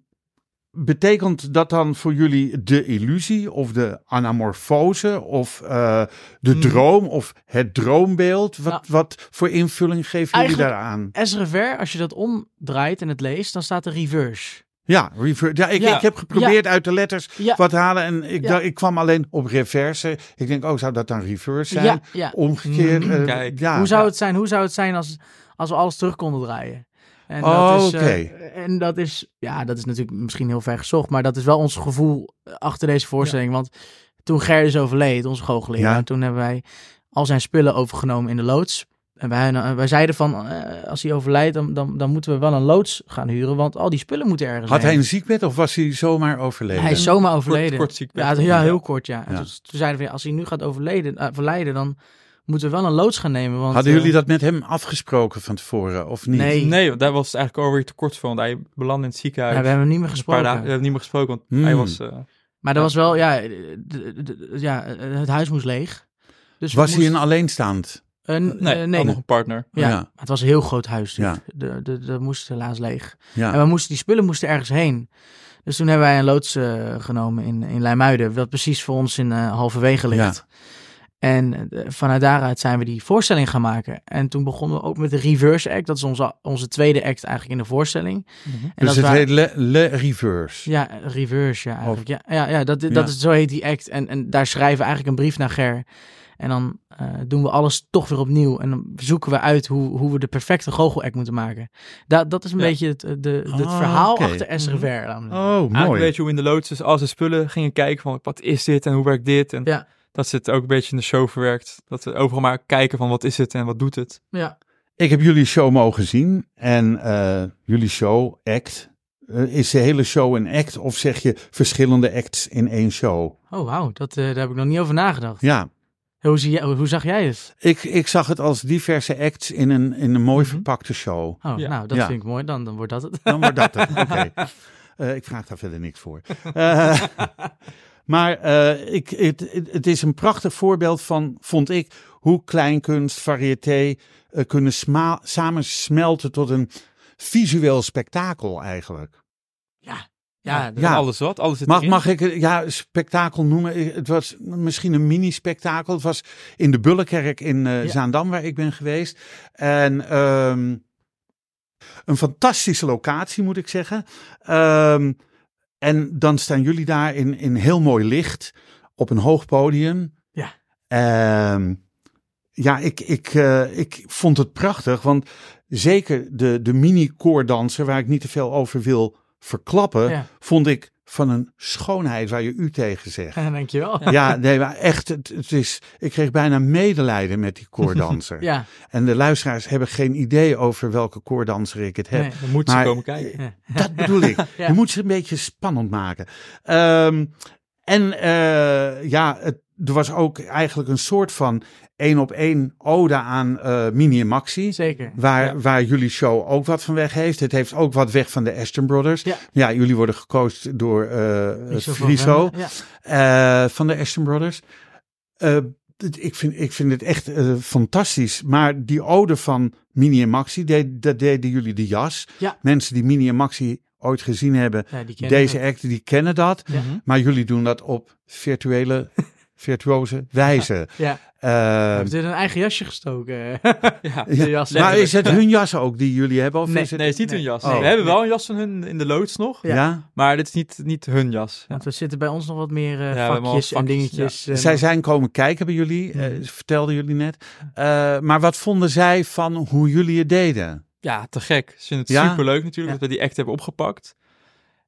Speaker 2: betekent dat dan voor jullie de illusie of de anamorfose of eh, de
Speaker 4: Mm.
Speaker 3: Hmm.
Speaker 2: droom of het droombeeld? Wat,
Speaker 3: Nou,
Speaker 2: wat voor invulling geven jullie
Speaker 3: eigenlijk-
Speaker 2: daaraan?
Speaker 3: S. Rever, als je dat omdraait en het leest, dan staat er reverse.
Speaker 2: Ja, rever- ja, ik,
Speaker 4: Ja.
Speaker 2: ik heb geprobeerd uit de letters
Speaker 3: Ja.
Speaker 2: wat te halen en ik,
Speaker 3: Ja.
Speaker 2: dacht- ik kwam alleen op reverse. Ik denk, oh, zou dat dan reverse zijn?
Speaker 3: Ja, ja.
Speaker 2: Omgekeerd.
Speaker 4: Mm,
Speaker 2: eh,
Speaker 4: kijk.
Speaker 2: ja.
Speaker 3: hoe, zou het zijn, hoe zou het zijn als, als we alles terug konden draaien? En
Speaker 2: Oh,
Speaker 3: dat is, eh,
Speaker 2: oké.
Speaker 3: en dat is, ja, dat is natuurlijk misschien heel ver gezocht, maar dat is wel ons gevoel eh, achter deze voorstelling. Want toen Gerdus overleed, onze goochelaar,
Speaker 2: Ja.
Speaker 3: toen hebben wij al zijn spullen overgenomen in de loods. En wij, wij zeiden van, eh, als hij overlijdt, dan, dan, dan moeten we wel een loods gaan huren, want al die spullen moeten ergens
Speaker 2: Had hij
Speaker 3: heen.
Speaker 2: een ziekbed of was hij zomaar overleden?
Speaker 3: Hij is zomaar
Speaker 4: Kort,
Speaker 3: overleden.
Speaker 4: kort ziek.
Speaker 3: Ja, ja, heel kort, ja. En
Speaker 2: Ja.
Speaker 3: Toen, toen zeiden we, ja, als hij nu gaat overleden, eh, verlijden, dan moeten we wel een loods gaan nemen. Want,
Speaker 2: Hadden
Speaker 3: eh,
Speaker 2: jullie dat met hem afgesproken van tevoren of niet?
Speaker 3: Nee.
Speaker 4: Nee, want daar was het eigenlijk alweer te kort van. Want hij belandde in het ziekenhuis.
Speaker 3: ja, we hebben hem niet meer
Speaker 4: een paar
Speaker 3: gesproken.
Speaker 4: dagen, we hebben niet meer gesproken, want
Speaker 2: Hmm.
Speaker 4: hij was... eh,
Speaker 3: Maar dat
Speaker 4: Ja.
Speaker 3: was wel, ja, eh, de- de- de- ja, eh, het huis moest leeg. Dus we
Speaker 2: Was hij een
Speaker 3: moesten-
Speaker 2: alleenstaand?
Speaker 3: een...
Speaker 4: nee,
Speaker 3: eh,
Speaker 4: had
Speaker 3: nee.
Speaker 4: nog een partner.
Speaker 3: Ja,
Speaker 2: Ja.
Speaker 3: maar het was een heel groot huis. Dus
Speaker 2: Ja.
Speaker 3: de, de, de moest helaas leeg.
Speaker 2: Ja.
Speaker 3: En we moesten, die spullen moesten ergens heen. Dus toen hebben wij een loods eh, genomen in, in Leimuiden. Wat precies voor ons in eh, halverwege ligt. En eh, vanuit daaruit zijn we die voorstelling gaan maken. En toen begonnen we ook met de reverse act. Dat is onze, onze tweede act eigenlijk in de voorstelling.
Speaker 4: Mhm.
Speaker 3: En
Speaker 2: dus
Speaker 3: dat
Speaker 2: het
Speaker 3: waren-
Speaker 2: heet Le, Le Reverse.
Speaker 3: Ja, reverse, ja, eigenlijk. Ja, ja, ja, dat, dat
Speaker 2: Ja.
Speaker 3: is, zo heet die act. En, en daar schrijven we eigenlijk een brief naar Ger. En dan eh, doen we alles toch weer opnieuw. En dan zoeken we uit hoe, hoe we de perfecte goochelact moeten maken. Dat, dat is een
Speaker 4: Ja.
Speaker 3: beetje het, eh, de, het
Speaker 2: Ah,
Speaker 3: verhaal
Speaker 2: oké.
Speaker 3: achter S. Rever. namelijk.
Speaker 2: Oh,
Speaker 4: Eigenlijk
Speaker 2: mooi.
Speaker 4: weet je hoe in de loods dus al zijn spullen gingen kijken van wat is dit en hoe werkt dit. En
Speaker 3: Ja.
Speaker 4: dat zit ook een beetje in de show verwerkt. Dat we overal maar kijken van wat is het en wat doet het.
Speaker 3: Ja.
Speaker 2: Ik heb jullie show mogen zien en eh, jullie show, act. Eh, is de hele show een act of zeg je verschillende acts in één show?
Speaker 3: Oh, wauw. Dat, eh, daar heb ik nog niet over nagedacht.
Speaker 2: Ja,
Speaker 3: Hoe, zie jij, hoe zag jij het?
Speaker 2: ik, ik zag het als diverse acts in een, in een mooi
Speaker 4: Mhm.
Speaker 2: verpakte show.
Speaker 3: Oh,
Speaker 4: Ja.
Speaker 3: nou, dat
Speaker 2: Ja.
Speaker 3: vind ik mooi. Dan, dan wordt dat het.
Speaker 2: Dan wordt Nou, dat het. Oké. Eh, ik vraag daar verder niks voor. Eh, maar eh, ik, het, het- het is een prachtig voorbeeld van, vond ik, hoe kleinkunst, variété eh, kunnen sma- samensmelten tot een visueel spektakel eigenlijk.
Speaker 3: Ja, dat-
Speaker 2: Ja.
Speaker 4: Alles wat, alles zit
Speaker 2: Mag,
Speaker 4: erin.
Speaker 2: mag ik het ja, spektakel noemen? Eh, Het was misschien een mini-spektakel. Het was in de Bullenkerk in eh,
Speaker 3: Ja.
Speaker 2: Zaandam, waar ik ben geweest. En ehm, een fantastische locatie, moet ik zeggen. Ehm, en dan staan jullie daar in, in heel mooi licht op een hoog podium.
Speaker 3: Ja.
Speaker 2: Ehm, ja, ik, ik, eh, ik vond het prachtig, want zeker de, de mini-koordanser, waar ik niet te veel over wil verklappen,
Speaker 3: Ja.
Speaker 2: vond ik van een schoonheid waar je u tegen zegt.
Speaker 3: Dankjewel. Ja.
Speaker 2: Ja, nee, maar echt, het, het is, ik kreeg bijna medelijden met die koordanser.
Speaker 3: Ja.
Speaker 2: En de luisteraars hebben geen idee over welke koordanser ik het heb.
Speaker 3: Nee.
Speaker 4: Dan moet ze
Speaker 2: Maar-
Speaker 4: komen kijken.
Speaker 2: Dat bedoel ik.
Speaker 3: Ja.
Speaker 2: Je moet ze een beetje spannend maken. Ehm, en eh, ja, het, er was ook eigenlijk een soort van één op één ode aan eh, Mini en Maxi.
Speaker 3: Zeker.
Speaker 2: Waar,
Speaker 4: Ja.
Speaker 2: waar jullie show ook wat van weg heeft. Het heeft ook wat weg van de Ashton Brothers.
Speaker 3: Ja.
Speaker 2: jullie worden gecoacht door eh
Speaker 3: Friso van
Speaker 2: Friso
Speaker 3: Wemmen. Ja.
Speaker 2: eh, van de Ashton Brothers. Eh, dit- ik, vind, ik vind het echt eh, fantastisch. Maar die ode van Mini en Maxi, deed, dat deden jullie de jas.
Speaker 3: Ja.
Speaker 2: Mensen die Mini en Maxi ooit gezien hebben,
Speaker 3: Ja, die kennen
Speaker 2: deze
Speaker 3: we.
Speaker 2: act, die kennen dat.
Speaker 3: Ja.
Speaker 2: Maar jullie doen dat op virtuele, virtuoze wijze.
Speaker 3: Ja.
Speaker 2: Eh,
Speaker 3: Heeft dit een eigen jasje gestoken?
Speaker 4: Ja.
Speaker 2: ja,
Speaker 3: jas
Speaker 2: maar
Speaker 4: letterlijk.
Speaker 2: is het hun jas ook die jullie hebben? Of
Speaker 3: Nee,
Speaker 2: is het,
Speaker 4: Nee, het is niet hun jas.
Speaker 2: Oh.
Speaker 4: We hebben wel een jas van hun in de loods nog,
Speaker 2: ja.
Speaker 3: Ja.
Speaker 4: maar dit is niet, niet hun jas. Ja.
Speaker 3: Want we zitten bij ons nog wat meer eh,
Speaker 4: we hebben
Speaker 3: vakjes,
Speaker 4: al
Speaker 3: en
Speaker 4: vakjes,
Speaker 3: dingetjes. eh,
Speaker 2: Zij zijn komen kijken bij jullie, eh,
Speaker 3: Mhm.
Speaker 2: vertelden jullie net. Eh, maar wat vonden zij van hoe jullie het deden?
Speaker 4: Ja, te gek. Ze vinden het
Speaker 2: Ja?
Speaker 4: superleuk natuurlijk
Speaker 3: Ja.
Speaker 4: dat we die act hebben opgepakt.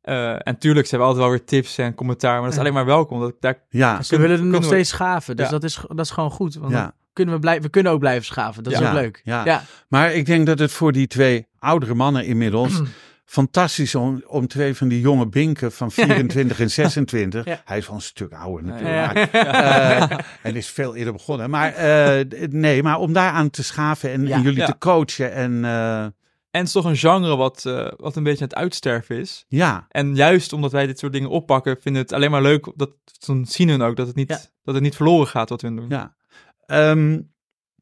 Speaker 4: Eh, en tuurlijk, ze hebben altijd wel weer tips en commentaar, maar dat is
Speaker 3: Ja.
Speaker 4: alleen maar welkom. Dat, daar,
Speaker 2: Ja,
Speaker 3: Ze willen het nog
Speaker 4: kunnen we-
Speaker 3: steeds schaven, dus
Speaker 4: Ja.
Speaker 3: dat, is, dat is gewoon goed. Want
Speaker 2: ja.
Speaker 3: dan kunnen we, blij, we kunnen ook blijven schaven, dat is
Speaker 2: Ja.
Speaker 3: ook leuk.
Speaker 2: Ja.
Speaker 3: ja.
Speaker 2: Maar ik denk dat het voor die twee oudere mannen inmiddels
Speaker 3: Hmm.
Speaker 2: fantastisch om, om twee van die jonge binken van 24 en 26.
Speaker 3: Ja.
Speaker 2: Hij is wel een stuk ouder natuurlijk.
Speaker 3: Ja.
Speaker 2: maar, eh, en is veel eerder begonnen. Maar eh, d- nee, maar om daaraan te schaven en,
Speaker 3: Ja.
Speaker 2: en jullie
Speaker 4: Ja.
Speaker 2: te coachen en eh,
Speaker 4: en het is toch een genre wat, eh, wat een beetje aan het uitsterven is.
Speaker 2: ja.
Speaker 4: En juist omdat wij dit soort dingen oppakken, vinden we het alleen maar leuk. Dat, dan zien hun ook dat het, niet,
Speaker 3: Ja.
Speaker 4: dat het niet verloren gaat wat hun doen.
Speaker 2: ja. Ehm,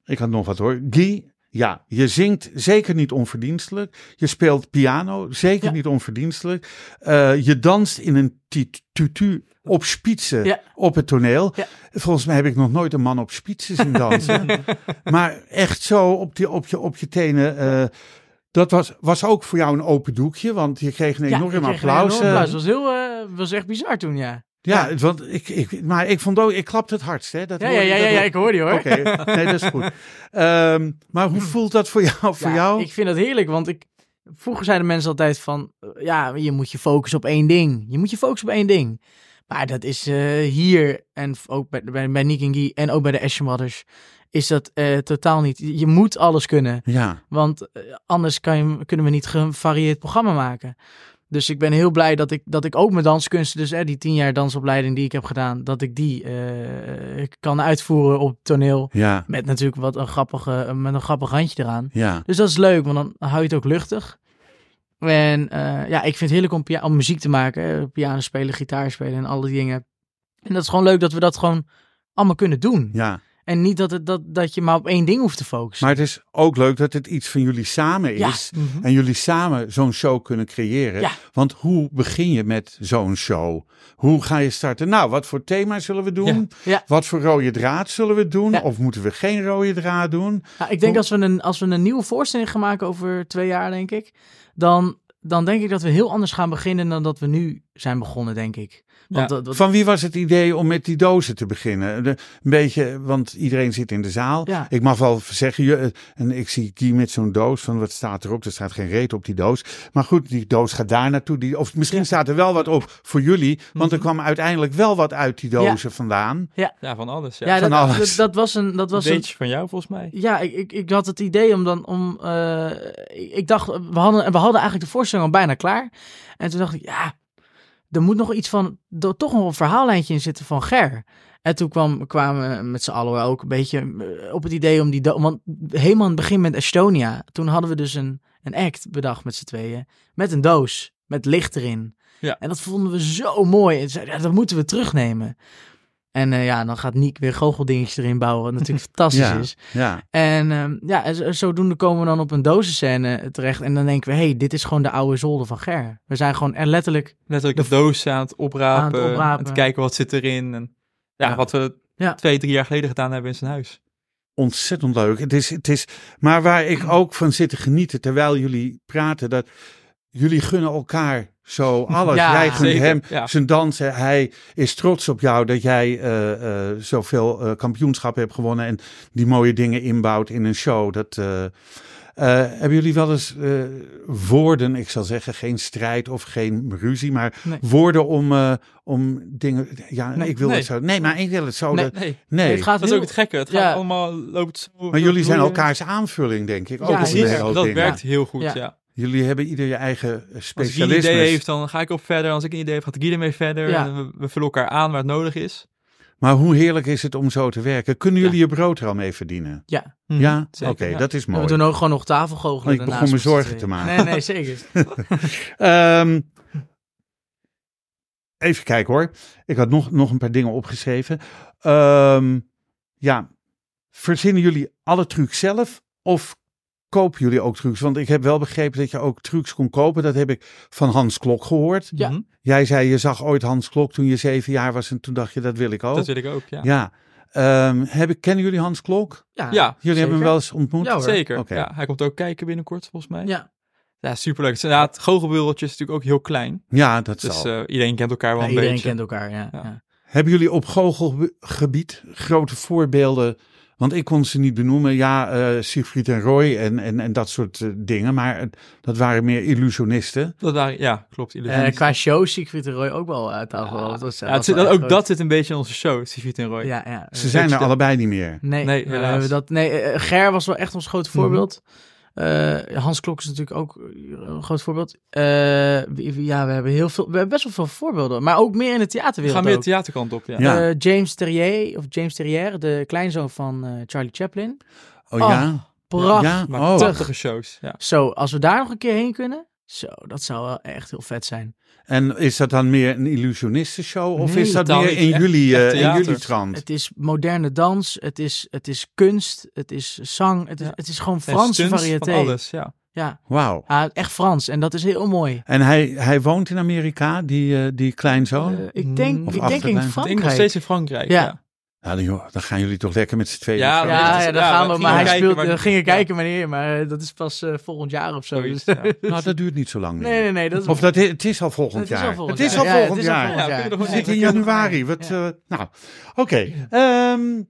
Speaker 2: ik had nog wat hoor. Guy, ja, je zingt zeker niet onverdienstelijk. Je speelt piano, zeker
Speaker 3: Ja.
Speaker 2: niet onverdienstelijk. Eh, je danst in een tit- tutu op spitsen
Speaker 3: Ja.
Speaker 2: op het toneel.
Speaker 3: Ja.
Speaker 2: Volgens mij heb ik nog nooit een man op spitsen zien dansen. maar echt zo op, die, op, je, op je tenen. eh, dat was, was ook voor jou een open doekje, want je kreeg een
Speaker 3: Ja,
Speaker 2: enorm
Speaker 3: ik kreeg een
Speaker 2: applaus.
Speaker 3: enorm
Speaker 2: eh.
Speaker 3: applaus. Dat was, heel, eh, was echt bizar toen, ja.
Speaker 2: ja, want ik, ik, maar ik vond ook, ik klapte het hardst. Hè? Dat
Speaker 3: Ja, ja,
Speaker 2: hoorde-
Speaker 3: ja,
Speaker 2: dat
Speaker 3: ja, ik hoor die hoor.
Speaker 2: Oké, nee, dat is goed. Ehm, maar hoe voelt dat voor jou? Voor
Speaker 3: Ja,
Speaker 2: jou?
Speaker 3: Ik vind dat heerlijk, want ik, vroeger zeiden mensen altijd van, eh, ja, je moet je focussen op één ding. Je moet je focussen op één ding. Maar dat is eh, hier, en f- ook bij, bij, bij Nick en Guy, en ook bij de Ashen Brothers, is dat eh, totaal niet. Je je moet alles kunnen,
Speaker 2: ja,
Speaker 3: want eh, anders kan je, kunnen we niet gevarieerd programma maken. Dus ik ben heel blij dat ik, dat ik ook mijn danskunsten, dus eh, die tien jaar dansopleiding die ik heb gedaan, dat ik die eh, kan uitvoeren op toneel.
Speaker 2: ja,
Speaker 3: Met natuurlijk wat een grappige, met een grappig randje eraan.
Speaker 2: ja.
Speaker 3: Dus dat is leuk, want dan hou je het ook luchtig. En eh, ja, ik vind het heerlijk om, pia- om muziek te maken. eh, Piano spelen, gitaar spelen en alle die dingen. En dat is gewoon leuk dat we dat gewoon allemaal kunnen doen.
Speaker 2: ja.
Speaker 3: En niet dat, het, dat, dat je maar op één ding hoeft te focussen.
Speaker 2: Maar het is ook leuk dat het iets van jullie samen
Speaker 3: Ja.
Speaker 2: is. En jullie samen zo'n show kunnen creëren.
Speaker 3: Ja.
Speaker 2: Want hoe begin je met zo'n show? Hoe ga je starten? Nou, wat voor thema zullen we doen?
Speaker 3: Ja.
Speaker 2: Wat voor rode draad zullen we doen?
Speaker 3: Ja.
Speaker 2: Of moeten we geen rode draad doen?
Speaker 3: Nou, ik denk als we, een, als we een nieuwe voorstelling gaan maken over twee jaar, denk ik. Dan, dan denk ik dat we heel anders gaan beginnen dan dat we nu zijn begonnen, denk ik. Want
Speaker 4: Ja.
Speaker 3: dat, dat-
Speaker 2: Van wie was het idee om met die dozen te beginnen? De- een beetje, want iedereen zit in de zaal.
Speaker 3: Ja.
Speaker 2: Ik mag wel zeggen, je, eh, en ik zie Guy met zo'n doos van wat staat erop? Er staat geen reet op die doos. Maar goed, die doos gaat daar naartoe. Die, of misschien staat er wel wat op voor jullie.
Speaker 3: Mhm.
Speaker 2: Want er kwam uiteindelijk wel wat uit die dozen vandaan.
Speaker 4: Ja, van alles. Ja.
Speaker 3: ja,
Speaker 2: van
Speaker 3: dat,
Speaker 2: alles.
Speaker 3: dat, dat was een. Dat
Speaker 4: een
Speaker 3: was een,
Speaker 4: beetje van jou volgens mij.
Speaker 3: Ja, ik, ik, ik had het idee om dan om. eh, ik, ik dacht, we hadden, we hadden eigenlijk de voorstelling al bijna klaar. En toen dacht ik, ja, er moet nog iets van. er toch nog een verhaallijntje in zitten van Ger. En toen kwam, kwamen we met z'n allen ook een beetje eh, op het idee om die. do- Want helemaal aan het begin met Estonia. Toen hadden we dus een, een act bedacht met z'n tweeën. Met een doos. Met licht erin.
Speaker 4: Ja.
Speaker 3: En dat vonden we zo mooi. En zeiden, ja, dat moeten we terugnemen. En eh, ja, dan gaat Niek weer goocheldingetjes erin bouwen. Wat natuurlijk fantastisch
Speaker 2: Ja.
Speaker 3: is.
Speaker 2: Ja,
Speaker 3: En ehm, ja, en zo- zodoende komen we dan op een dozenscène terecht. En dan denken we, hé, hey, dit is gewoon de oude zolder van Ger. We zijn gewoon er letterlijk...
Speaker 4: Letterlijk de doos aan het oprapen.
Speaker 3: Aan het oprapen.
Speaker 4: En te kijken wat zit erin. En, ja,
Speaker 3: Ja.
Speaker 4: wat we
Speaker 3: Ja.
Speaker 4: twee, drie jaar geleden gedaan hebben in zijn huis.
Speaker 2: ontzettend leuk. Het is, het is, maar waar ik ook van zit te genieten terwijl jullie praten, dat jullie gunnen elkaar zo alles.
Speaker 3: Ja,
Speaker 2: jij gunt
Speaker 4: zeker,
Speaker 2: hem
Speaker 4: ja.
Speaker 2: zijn dansen. Hij is trots op jou dat jij eh, eh, zoveel eh kampioenschappen hebt gewonnen en die mooie dingen inbouwt in een show. Dat, eh, eh, hebben jullie wel eens eh, woorden, ik zal zeggen, geen strijd of geen ruzie, maar
Speaker 3: Nee.
Speaker 2: woorden om, eh, om dingen. Ja,
Speaker 4: Nee,
Speaker 2: ik wil
Speaker 4: nee.
Speaker 2: het zo. Nee, maar ik wil het zo.
Speaker 3: Nee,
Speaker 2: dat-
Speaker 4: Nee,
Speaker 2: nee.
Speaker 3: Het gaat
Speaker 4: dat is
Speaker 3: heel-
Speaker 4: ook het gekke. Het
Speaker 3: Ja.
Speaker 4: gaat allemaal loopt zo.
Speaker 2: Maar jullie zijn
Speaker 4: vloeien.
Speaker 2: elkaars aanvulling, denk ik. Ook
Speaker 3: Ja,
Speaker 2: op een
Speaker 4: Precies,
Speaker 3: heel
Speaker 2: heel
Speaker 4: dat
Speaker 2: ding.
Speaker 4: werkt heel goed,
Speaker 3: Ja.
Speaker 4: ja.
Speaker 2: Jullie hebben ieder je eigen eh,
Speaker 4: Als Guy een
Speaker 2: specialisme.
Speaker 4: idee heeft, dan ga ik op verder. Als ik een idee heb, gaat Guy ermee verder.
Speaker 3: Ja.
Speaker 4: En we, we vullen elkaar aan waar het nodig is.
Speaker 2: Maar hoe heerlijk is het om zo te werken? Kunnen jullie je brood er al mee verdienen?
Speaker 3: Ja,
Speaker 4: Hm,
Speaker 2: ja? Oké,
Speaker 4: zeker, ja.
Speaker 2: dat is
Speaker 3: we
Speaker 2: mooi.
Speaker 3: hebben toen ook gewoon nog
Speaker 4: Oh,
Speaker 3: tafelgoochelen
Speaker 2: Ik begon me
Speaker 3: daarnaast met z'n
Speaker 2: zorgen
Speaker 3: tweeën.
Speaker 2: te maken.
Speaker 3: Nee, nee, zeker.
Speaker 2: Ehm, even kijken hoor. Ik had nog, nog een paar dingen opgeschreven. Ehm, ja, verzinnen jullie alle trucs zelf of kopen jullie ook trucs? Want ik heb wel begrepen dat je ook trucs kon kopen. Dat heb ik van Hans Klok gehoord.
Speaker 3: Ja.
Speaker 4: Mhm.
Speaker 2: Jij zei, je zag ooit Hans Klok toen je zeven jaar was en toen dacht je, dat wil ik ook.
Speaker 4: Dat wil ik ook, ja.
Speaker 2: Oh. Ja. Ehm, heb ik, kennen jullie Hans Klok?
Speaker 3: Ja,
Speaker 4: Ja,
Speaker 2: Jullie hebben hem
Speaker 3: zeker.
Speaker 2: wel eens ontmoet?
Speaker 3: Ja hoor.
Speaker 4: Zeker.
Speaker 2: Oké.
Speaker 4: Ja, hij komt ook kijken binnenkort, volgens mij. Ja,
Speaker 3: Ja,
Speaker 4: superleuk. Het is inderdaad, goochelwereldje is natuurlijk ook heel klein.
Speaker 2: Ja, dat
Speaker 4: Dus
Speaker 2: zal.
Speaker 4: eh, iedereen kent elkaar wel
Speaker 3: Ja,
Speaker 4: een
Speaker 3: iedereen
Speaker 4: beetje.
Speaker 3: kent elkaar, ja.
Speaker 4: Ja.
Speaker 3: ja.
Speaker 2: Hebben jullie op goochelgebied grote voorbeelden? Want ik kon ze niet benoemen. Ja, eh Siegfried en Roy en, en, en dat soort eh, dingen. Maar eh, dat waren meer illusionisten.
Speaker 4: Dat waren, ja, klopt.
Speaker 3: Eh,
Speaker 4: illusionies.
Speaker 3: qua show zie ik Victor Roy ook wel uit tafel.
Speaker 4: Dus Ja,
Speaker 3: Dat was-
Speaker 4: ja,
Speaker 3: was
Speaker 4: het zit-
Speaker 3: wel
Speaker 4: ook
Speaker 3: echt goed.
Speaker 4: dat zit een beetje in onze show, Sivit en Roy.
Speaker 3: Ja, ja.
Speaker 2: Ze zijn er
Speaker 4: Dexter.
Speaker 2: allebei niet meer.
Speaker 3: Nee,
Speaker 4: Nee,
Speaker 3: we
Speaker 4: helaas.
Speaker 3: hebben dat, nee eh, Ger was wel echt ons groot
Speaker 4: Mhm.
Speaker 3: voorbeeld. Eh, Hans Klok is natuurlijk ook eh, een groot voorbeeld. Eh, wie- wie- ja, we hebben, heel veel, we hebben best wel veel voorbeelden. Maar ook meer in de
Speaker 4: We
Speaker 3: theaterwereld.
Speaker 4: gaan weer de
Speaker 3: ook.
Speaker 4: theaterkant op, ja.
Speaker 2: Ja.
Speaker 3: Eh, James Terrier, of James Terrier, de kleinzoon van eh, Charlie Chaplin.
Speaker 2: Oh,
Speaker 3: Oh,
Speaker 2: ja?
Speaker 3: Prachtig.
Speaker 2: Ja?
Speaker 4: Maar
Speaker 2: Oh.
Speaker 4: prachtige shows. Ja.
Speaker 3: Zo, als we daar nog een keer heen kunnen. Zo, dat zou wel echt heel vet zijn.
Speaker 2: En is dat dan meer een illusionistenshow? Of
Speaker 3: Nee,
Speaker 2: is dat
Speaker 4: totaal
Speaker 2: meer
Speaker 4: niet.
Speaker 2: in
Speaker 4: Echt-
Speaker 2: jullie,
Speaker 4: echt
Speaker 2: eh, in
Speaker 4: theater.
Speaker 2: jullie trant?
Speaker 3: Het is moderne dans, het is, het is kunst, het is zang, het is,
Speaker 4: Ja.
Speaker 3: het is gewoon
Speaker 4: En
Speaker 3: Franse
Speaker 4: stunts
Speaker 3: variété.
Speaker 4: Van alles, ja.
Speaker 3: Ja.
Speaker 2: Wauw.
Speaker 3: ja, echt Frans. En dat is heel mooi.
Speaker 2: En hij, hij woont in Amerika, die, eh, die kleinzoon?
Speaker 3: Eh, ik denk, ik
Speaker 4: Of
Speaker 3: denk in
Speaker 2: achterlijn.
Speaker 4: Ik denk nog
Speaker 3: Frankrijk.
Speaker 4: steeds in Frankrijk, ja.
Speaker 3: Ja.
Speaker 2: Nou, dan, joh, dan gaan jullie toch lekker met z'n tweeën.
Speaker 4: Ja,
Speaker 2: op
Speaker 4: dat
Speaker 2: vakantie?
Speaker 4: is-
Speaker 3: Ja, ja, daar
Speaker 4: Ja,
Speaker 3: gaan
Speaker 4: we
Speaker 3: we.
Speaker 4: gingen
Speaker 3: Maar hij
Speaker 4: kijken,
Speaker 3: speelt,
Speaker 4: maar-
Speaker 3: we gingen
Speaker 4: ja.
Speaker 3: kijken wanneer, maar eh, dat is pas eh, volgend jaar of zo.
Speaker 4: Zoiets,
Speaker 3: Dus-
Speaker 4: ja. Ja,
Speaker 2: Nou, dat duurt niet zo lang. meer.
Speaker 3: Nee, nee, nee. Dat is,
Speaker 2: Of dat, het is al volgend
Speaker 3: het is
Speaker 2: jaar.
Speaker 3: al volgend
Speaker 2: het is
Speaker 3: jaar.
Speaker 2: al
Speaker 3: Ja, het
Speaker 2: volgend
Speaker 3: is al
Speaker 2: jaar.
Speaker 3: volgend
Speaker 4: Ja, we kunnen
Speaker 2: We
Speaker 4: nog
Speaker 3: Nee,
Speaker 2: zitten in
Speaker 3: we kunnen nog
Speaker 2: januari.
Speaker 3: maar-
Speaker 2: Wat,
Speaker 3: ja.
Speaker 2: eh, nou, oké. Ehm,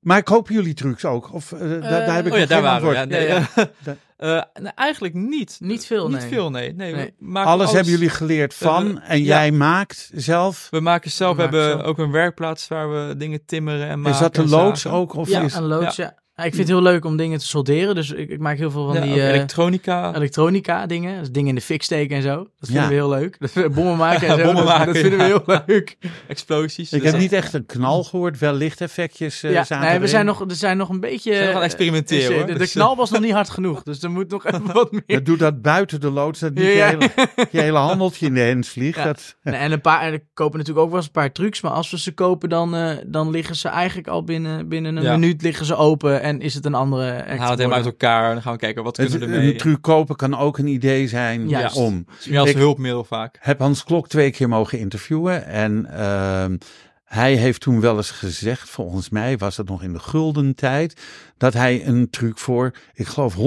Speaker 2: maar kopen jullie trucs ook? Of, eh, da- daar heb ik
Speaker 4: Oh ja,
Speaker 2: nog
Speaker 4: daar
Speaker 2: geen
Speaker 4: waren
Speaker 2: antwoord.
Speaker 4: we. Ja, nee,
Speaker 3: Ja,
Speaker 4: ja.
Speaker 2: Da-
Speaker 4: Eh, nou, eigenlijk niet.
Speaker 3: Niet veel,
Speaker 4: Niet
Speaker 3: nee.
Speaker 4: veel, nee. nee, we
Speaker 3: Nee.
Speaker 4: maken
Speaker 2: Alles hebben jullie geleerd
Speaker 4: Eh,
Speaker 2: van.
Speaker 4: we-
Speaker 2: En
Speaker 4: ja.
Speaker 2: jij maakt zelf.
Speaker 4: We maken zelf, we,
Speaker 3: We maken
Speaker 4: hebben
Speaker 3: zelf.
Speaker 4: ook een werkplaats waar we dingen timmeren en maken.
Speaker 2: Is dat de
Speaker 4: en
Speaker 2: loods
Speaker 4: zagen.
Speaker 2: ook? Of
Speaker 3: ja,
Speaker 2: is,
Speaker 3: een loods, ja. Ja, Ik vind het heel leuk om dingen te solderen, dus ik, ik maak heel veel van
Speaker 4: Ja,
Speaker 3: die
Speaker 4: ook
Speaker 3: eh,
Speaker 4: elektronica.
Speaker 3: elektronica dingen. Dus dingen in de fik steken en zo. Dat vinden
Speaker 2: Ja.
Speaker 3: we heel leuk. Dat we bommen maken en zo.
Speaker 4: Bommen
Speaker 3: dat,
Speaker 4: maken,
Speaker 3: dat vinden we
Speaker 4: ja.
Speaker 3: heel leuk.
Speaker 4: explosies.
Speaker 2: ik
Speaker 4: dus
Speaker 2: heb
Speaker 4: dat-
Speaker 2: niet echt een knal gehoord. Wel lichteffectjes eh,
Speaker 3: ja,
Speaker 2: zaten
Speaker 3: nee, we
Speaker 2: erin.
Speaker 3: zijn nog, er zijn nog een beetje...
Speaker 4: We zijn nog aan
Speaker 3: eh,
Speaker 4: het experimenteren,
Speaker 3: is, eh,
Speaker 4: hoor.
Speaker 3: De, de
Speaker 4: Dus, eh,
Speaker 3: knal was nog niet hard genoeg, dus er moet nog even wat meer.
Speaker 2: Maar doe dat buiten de loods. Dat niet
Speaker 3: Ja, ja.
Speaker 2: Je, hele, je hele handeltje in de hens vliegt.
Speaker 3: Ja.
Speaker 2: Dat,
Speaker 3: Nee, en een paar, en er kopen natuurlijk ook wel eens een paar trucs, maar als we ze kopen, dan, eh, dan liggen ze eigenlijk al binnen, binnen een
Speaker 4: Ja.
Speaker 3: minuut liggen ze open en is het een andere act
Speaker 4: Dan halen we het helemaal uit
Speaker 3: geworden.
Speaker 4: elkaar. Dan gaan we kijken wat
Speaker 2: het-
Speaker 4: kunnen we ermee.
Speaker 2: een truc kopen kan ook een idee zijn
Speaker 3: Juist.
Speaker 2: om.
Speaker 4: Het is meer als
Speaker 2: Ik-
Speaker 4: hulpmiddel vaak.
Speaker 2: heb Hans Klok twee keer mogen interviewen. En ehm, hij heeft toen wel eens gezegd, volgens mij was dat nog in de gulden tijd, dat hij een truc voor, ik geloof, 100.000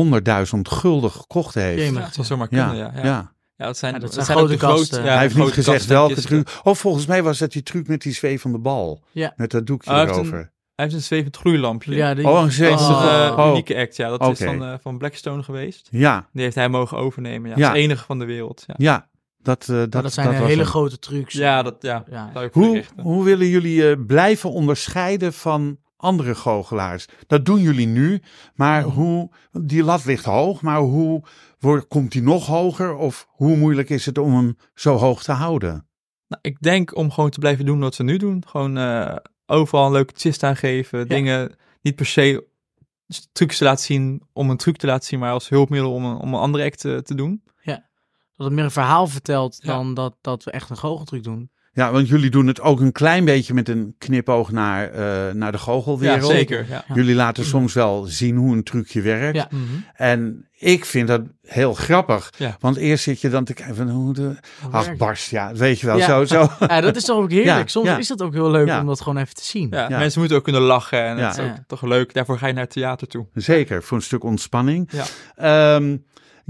Speaker 2: gulden gekocht heeft.
Speaker 3: Jemig.
Speaker 4: Ja, dat zal zomaar
Speaker 2: Ja,
Speaker 4: kunnen, ja. Ja,
Speaker 2: ja.
Speaker 4: Ja, dat zijn,
Speaker 3: Ja, dat
Speaker 4: dat zijn,
Speaker 3: zijn
Speaker 4: ook de
Speaker 3: grote
Speaker 4: groot-
Speaker 3: kasten.
Speaker 4: ja,
Speaker 2: hij heeft
Speaker 4: grote
Speaker 2: niet gezegd
Speaker 4: kasten,
Speaker 2: welke
Speaker 4: kisten.
Speaker 2: truc. Of volgens mij was dat die truc met die zwevende bal.
Speaker 3: Ja.
Speaker 2: Met dat doekje
Speaker 4: Oh, hij heeft
Speaker 2: erover.
Speaker 4: Hij heeft een zwevend gloeilampje.
Speaker 3: Ja, die-
Speaker 2: Oh, een zwevende
Speaker 4: Dat is
Speaker 3: Oh.
Speaker 4: een
Speaker 2: Oh.
Speaker 4: unieke act, ja. Dat is
Speaker 2: Oké.
Speaker 4: van, eh, van Blackstone geweest.
Speaker 2: Ja,
Speaker 4: Die heeft hij mogen overnemen, ja.
Speaker 2: Ja.
Speaker 4: Als enige van de wereld, ja.
Speaker 2: ja. Dat, eh, dat,
Speaker 3: dat, zijn
Speaker 2: dat
Speaker 3: eh,
Speaker 2: was
Speaker 3: hele
Speaker 2: hem.
Speaker 3: grote trucs.
Speaker 4: Ja, dat, ja.
Speaker 3: Ja.
Speaker 4: Zou ik voor
Speaker 2: Hoe,
Speaker 4: richten.
Speaker 2: hoe willen jullie eh, blijven onderscheiden van andere goochelaars? Dat doen jullie nu, maar hoe, die lat ligt hoog, maar hoe wordt, komt die nog hoger? Of hoe moeilijk is het om hem zo hoog te houden?
Speaker 4: Nou, ik denk om gewoon te blijven doen wat ze nu doen. Gewoon eh, overal een leuke twist aan geven. Dingen niet per se s- trucs te laten zien om een truc te laten zien, maar als hulpmiddel om een, om een andere act eh, te doen.
Speaker 3: Dat het meer een verhaal vertelt
Speaker 4: Ja.
Speaker 3: dan dat, dat we echt een goocheltruc doen.
Speaker 2: Ja, want jullie doen het ook een klein beetje met een knipoog naar, eh, naar de goochelwereld.
Speaker 4: Ja, zeker. Ja.
Speaker 2: Jullie laten soms wel zien hoe een trucje werkt.
Speaker 3: Ja.
Speaker 4: Mhm.
Speaker 2: En ik vind dat heel grappig.
Speaker 4: Ja.
Speaker 2: Want eerst zit je dan te kijken van hoe de...
Speaker 3: Hoe
Speaker 2: Ach,
Speaker 3: werkt
Speaker 2: barst, ja, weet je wel,
Speaker 3: Ja.
Speaker 2: zo, zo.
Speaker 3: Ja, dat is toch ook heerlijk.
Speaker 2: Ja,
Speaker 3: Soms
Speaker 2: ja.
Speaker 3: is dat ook heel leuk
Speaker 2: Ja.
Speaker 3: om dat gewoon even te zien.
Speaker 4: Ja,
Speaker 2: Ja.
Speaker 4: Mensen moeten ook kunnen lachen en
Speaker 2: Ja.
Speaker 4: dat is ook
Speaker 3: Ja.
Speaker 4: toch leuk. Daarvoor ga je naar het theater toe.
Speaker 2: Zeker, voor een stuk ontspanning.
Speaker 4: Ja.
Speaker 2: Ehm,